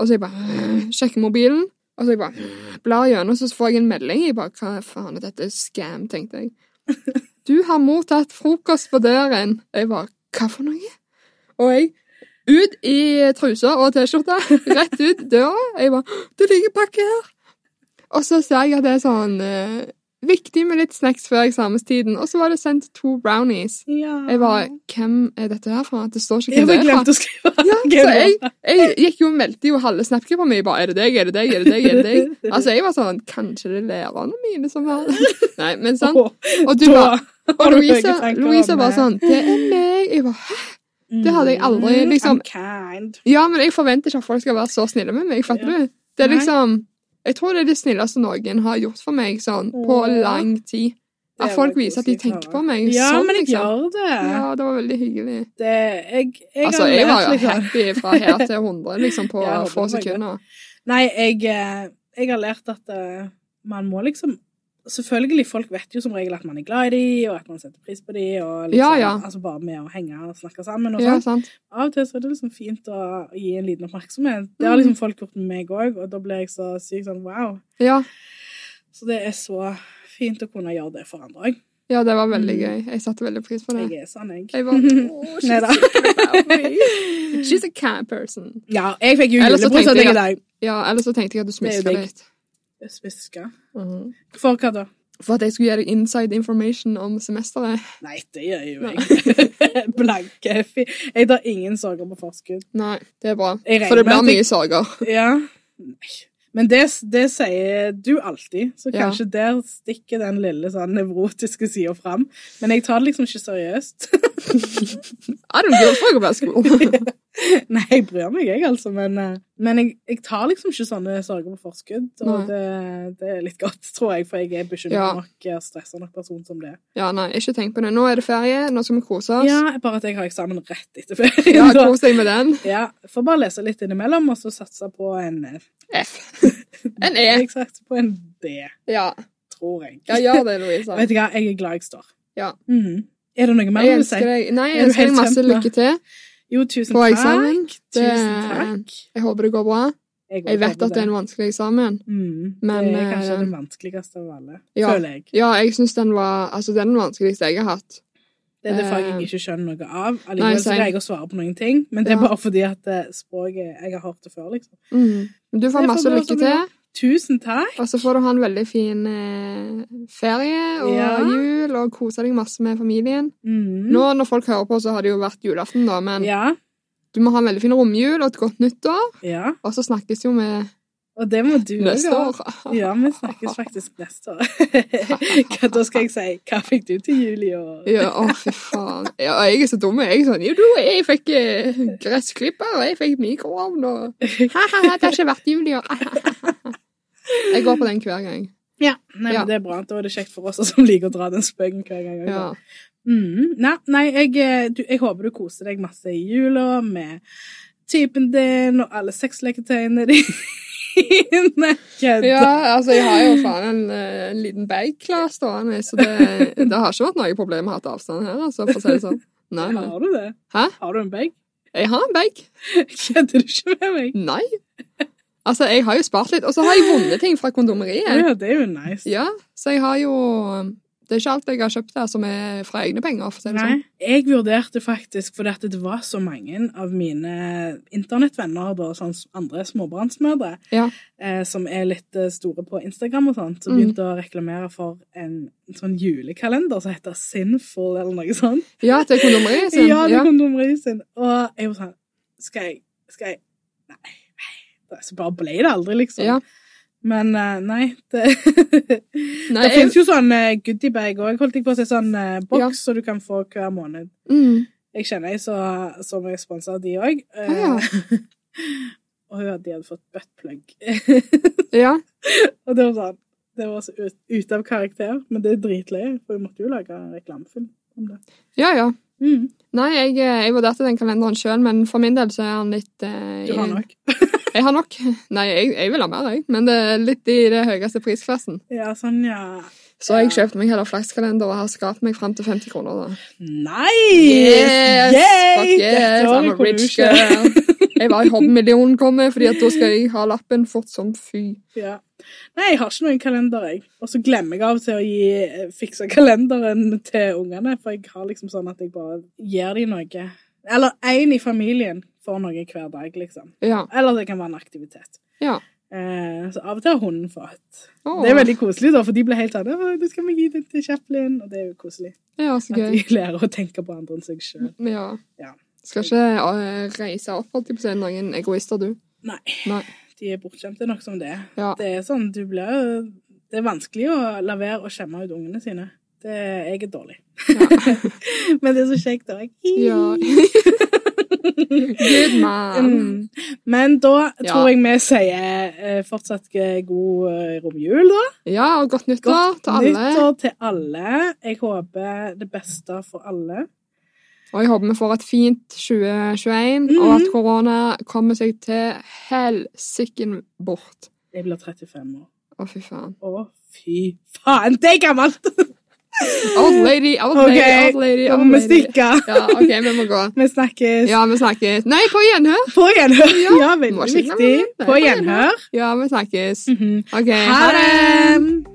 A: Og så jeg bare øh, sjekker mobilen, og så jeg bare øh, blar gjennom, så får jeg en melding. Jeg bare Hva faen er dette? Scam, tenkte jeg. Du har mottatt frokost på døren. Jeg bare Hva for noe? Og jeg ut i trusa og T-skjorta, rett ut døra. Jeg bare Det ligger pakke her! Og så ser jeg at det er sånn eh, viktig med litt snacks før eksamenstiden. Og så var det sendt to brownies.
B: Ja.
A: Jeg bare Hvem er dette her fra? Det står ikke
B: Jeg
A: hvem det
B: bare
A: er fra.
B: Ah. glemte å skrive.
A: Ja, så jeg, jeg gikk jo og meldte jo halve snapcampen min. Bare, er det deg, er det deg, er det deg? er det deg? Altså, jeg var sånn Kanskje det er lærerne mine som har Nei, men sånn.
B: Åh,
A: Og du
B: da
A: bare
B: har
A: Og
B: du
A: Louisa,
B: høye tanker om
A: Louisa var
B: meg.
A: sånn Det er meg. Jeg bare Hæ? det hadde jeg aldri,
B: Mm,
A: liksom-
B: I'm kind.
A: Ja, men jeg forventer ikke at folk skal være så snille med meg, fatter
B: Ja.
A: du? Det er
B: Nei.
A: liksom Jeg tror det er det snilleste noen har gjort for meg sånn på
B: Åh.
A: lang tid.
B: Det
A: At folk
B: var
A: viser at de
B: koselig å
A: tenker på
B: høre.
A: meg
B: Ja,
A: sånn,
B: men jeg
A: liksom.
B: gjør det.
A: Ja, det var veldig hyggelig.
B: det jeg, jeg
A: altså,
B: har
A: jeg
B: lært
A: var jo
B: litt av-
A: happy fra her til 100 liksom, på
B: Ja, jeg håper
A: få
B: det var
A: sekunder.
B: Nei, jeg, eh, jeg har lært at eh, man må liksom Selvfølgelig, folk vet jo som regel at man er glad i dem, og at man setter pris på dem, og liksom,
A: Ja, ja.
B: altså bare med å henge og snakke sammen og
A: Ja,
B: sånn.
A: sant.
B: Av og til så er det liksom fint å gi en liten oppmerksomhet. Det har
A: Mm.
B: liksom folk gjort med meg òg, og da blir jeg så sykt sånn wow.
A: Ja.
B: Så det er så fint å kunne gjøre det for andre òg.
A: ja, det var veldig
B: Mm.
A: gøy. Jeg satte veldig pris på det.
B: Jeg er sånn, jeg.
A: Jeg bare «Åh, she's
B: Neida.
A: thinking about me. She's a cat person.
B: Ja, jeg fikk jo
A: Ellers så
B: julebrus av
A: tenkte
B: deg
A: jeg
B: i dag.
A: Ja, ellers så tenkte jeg at du
B: Det er jo
A: smiska
B: digg.
A: litt.
B: Smiska.
A: Mhm.
B: For hva da?
A: For at jeg skulle gi deg inside information om semesteret.
B: Nei, det gjør jo jeg. Blanke fi. Jeg tar ingen sorger på forskudd.
A: Nei, det er bra.
B: Jeg regner
A: For det
B: med
A: blir
B: at jeg-
A: mye sorger.
B: Ja. Nei. Men det, det sier du alltid, så
A: Ja.
B: kanskje der stikker den lille sånn nevrotiske sida fram. Men jeg tar det liksom ikke seriøst.
A: I don't give a fuck about school.
B: Nei, jeg bryr meg, jeg, altså. Men, eh, men jeg, jeg tar liksom ikke sånne sorger på forskudd.
A: Nei.
B: Og det, det er litt godt, tror jeg, for jeg er bekymra
A: Ja.
B: nok og stressa nok person som det.
A: Ja, nei, ikke tenk på det. Nå er det ferie, nå skal vi kose oss.
B: Ja, bare at jeg har eksamen rett etter ferien.
A: Ja,
B: da.
A: kos deg med den.
B: Ja, Får bare lese litt innimellom, og så satse på en eh,
A: F. En E.
B: Jeg satser på en D,
A: Ja,
B: tror jeg.
A: ja gjør det, Louisa.
B: Vet du hva, jeg er glad jeg står.
A: Ja.
B: Mhm. Er det noe mer
A: Jeg
B: du vil si?
A: elsker deg. Nei, jeg
B: Er du
A: ønsker deg
B: helt
A: masse
B: kjent nå?
A: lykke til
B: Jo, tusen
A: på
B: takk.
A: eksamen. Det-
B: Tusen takk.
A: Jeg håper det går bra. Jeg vet at det er en vanskelig eksamen.
B: Mhm.
A: men,
B: Det er kanskje
A: eh,
B: det vanskeligste av alle,
A: ja.
B: føler jeg.
A: Ja, jeg syns den var Altså, det er den vanskeligste jeg har hatt.
B: Det er det faget
A: Eh,
B: jeg ikke skjønner noe av.
A: nei,
B: Allikevel så
A: same.
B: greier jeg å svare på noen ting, men det er
A: Ja.
B: bare fordi at eh, språket Jeg har hørt det før, liksom.
A: Mm. Men Du
B: Det
A: får
B: får
A: masse
B: du
A: lykke
B: også
A: til,
B: Tusen takk!
A: og så får du ha en veldig fin eh, ferie og
B: Ja.
A: jul, og kose deg masse med familien.
B: Mhm.
A: Nå når folk hører på, så har det jo vært julaften, da, men
B: Ja,
A: du må ha en veldig fin romjul og et godt nyttår,
B: ja.
A: og så snakkes jo vi
B: Og det må du
A: neste
B: også.
A: år.
B: Ja, vi snakkes faktisk neste år. Hva- da skal jeg si hva fikk du til jul i år?
A: Ja, å fy faen. Ja, jeg er så dum. Jeg er sånn, jo du, jeg fikk eh, gressklipper, og jeg fikk mikroovn, og ha-ha-ha, det har ikke vært jul i år. Jeg går på den hver gang.
B: Ja, nei,
A: Ja.
B: men det er bra. Da er det kjekt for oss som liker å dra den spøken hver gang.
A: Ja.
B: Mhm. Nei, nei jeg, eh, du, jeg håper du koser deg masse i jula med typen din og alle sexleketøyene dine. Kødda.
A: ja, altså, jeg har jo faen en, eh, en liten bag klar stående, så det, det har ikke vært noe problem å ha hatt avstand her, altså, for å si det sånn. Nei, nei.
B: Har du det?
A: Hæ?
B: Har du en bag?
A: Jeg har en bag.
B: Kødder du ikke med meg?
A: Nei. Altså, jeg har jo spart litt, og så har jeg vunnet ting fra kondomeriet.
B: Ja, det er jo nice.
A: Ja, så jeg har jo um, Det er ikke alt jeg har kjøpt der som er fra egne penger. for å si det sånn.
B: Nei. Jeg vurderte faktisk, fordi at det var så mange av mine internettvenner, da, sånn s- andre småbarnsmødre,
A: Ja.
B: eh, som er litt eh, store på Instagram og sånt, som
A: Mm.
B: begynte å reklamere for en sånn julekalender som heter Sinful, eller noe sånt.
A: Ja, til kondomeriet sin.
B: Ja, det
A: Ja.
B: kom domeriet sin. Og jeg var sånn Skal jeg Skal jeg Nei. nei. Så bare ble det aldri, liksom.
A: Ja.
B: Men eh, nei, det
A: Nei,
B: Det
A: jeg,
B: finnes jo sånn eh, goodiebag òg. Holdt jeg på å si sånn eh, boks
A: Ja.
B: som du kan få hver måned.
A: mm,
B: Jeg kjenner ei som som er sponsa av de òg.
A: Ah, ja.
B: og hun hadde, de hadde fått buttplug.
A: ja.
B: og det var sånn Det var så ut, ute av karakter, men det er dritløye, for vi måtte jo lage en reklamefilm om det.
A: ja, ja.
B: Mm,
A: Nei, jeg, eh, jeg vurderte den kalenderen sjøl, men for min del så er han litt eh,
B: du har nok.
A: Jeg, har nok. Nei, jeg, jeg vil ha mer, jeg. Men det er litt i det høyeste prisklassen.
B: Ja, sånn, ja.
A: Så jeg kjøpte meg heller flakskalender og har skapt meg fram til 50 kroner. da.
B: Nice!
A: Yes!
B: Yay!
A: Fuck yes,
B: Dette var
A: I'm
B: vi
A: a rich
B: konge.
A: girl. Jeg var i hobbymillionen kommer, fordi at da skal jeg ha lappen fort som fy.
B: Ja. Nei, jeg har ikke noen kalender, jeg. Og så glemmer jeg av og til å gi, eh, fikse kalenderen til ungene, for jeg har liksom sånn at jeg bare gir dem noe. Eller én i familien får noe hver dag, liksom.
A: Ja.
B: Eller det kan være en aktivitet.
A: ja.
B: Eh, så av og til har hunden fått.
A: Åh.
B: Det er veldig koselig, da, for de blir helt sånn «Å, 'Nå skal vi gi den til Chaplin', og det er jo koselig.
A: Ja, så
B: At
A: gøy.
B: de lærer å tenke på andre enn seg sjøl.
A: Men Ja.
B: Ja.
A: Skal ikke eh, reise opp holdt jeg på å si, noen egoister, du.
B: Nei,
A: Nei.
B: de er bortskjemte nok som det er.
A: Ja.
B: Det er sånn, du blir jo Det er vanskelig å la være å skjemme ut ungene sine. Det, jeg er dårlig. Men det er så kjekt òg.
A: ja. Good man.
B: Mm. Men da
A: Ja.
B: tror jeg vi sier eh, fortsatt eh, god eh, romjul, da.
A: Ja, og godt nyttår til alle.
B: nyttår til alle. Jeg håper det beste for alle.
A: Og jeg håper vi får et fint 2021,
B: Mhm.
A: og at korona kommer seg til helsiken bort.
B: Jeg blir 35 år.
A: Å, fy faen.
B: Å, Fy faen, det er gammelt!
A: Old lady, old lady,
B: Ok,
A: old lady.
B: Da
A: old
B: må vi
A: lady.
B: stikke.
A: Ja, OK, vi må gå.
B: Vi snakkes.
A: Ja, vi snakkes. Nei, på gjenhør!
B: På gjenhør.
A: Ja,
B: Ja,
A: må
B: veldig
A: ikke glemme
B: viktig.
A: Eh, det.
B: På gjenhør.
A: Ja, vi snakkes.
B: Mhm.
A: OK,
B: Ha Mm. Mm-hmm. det!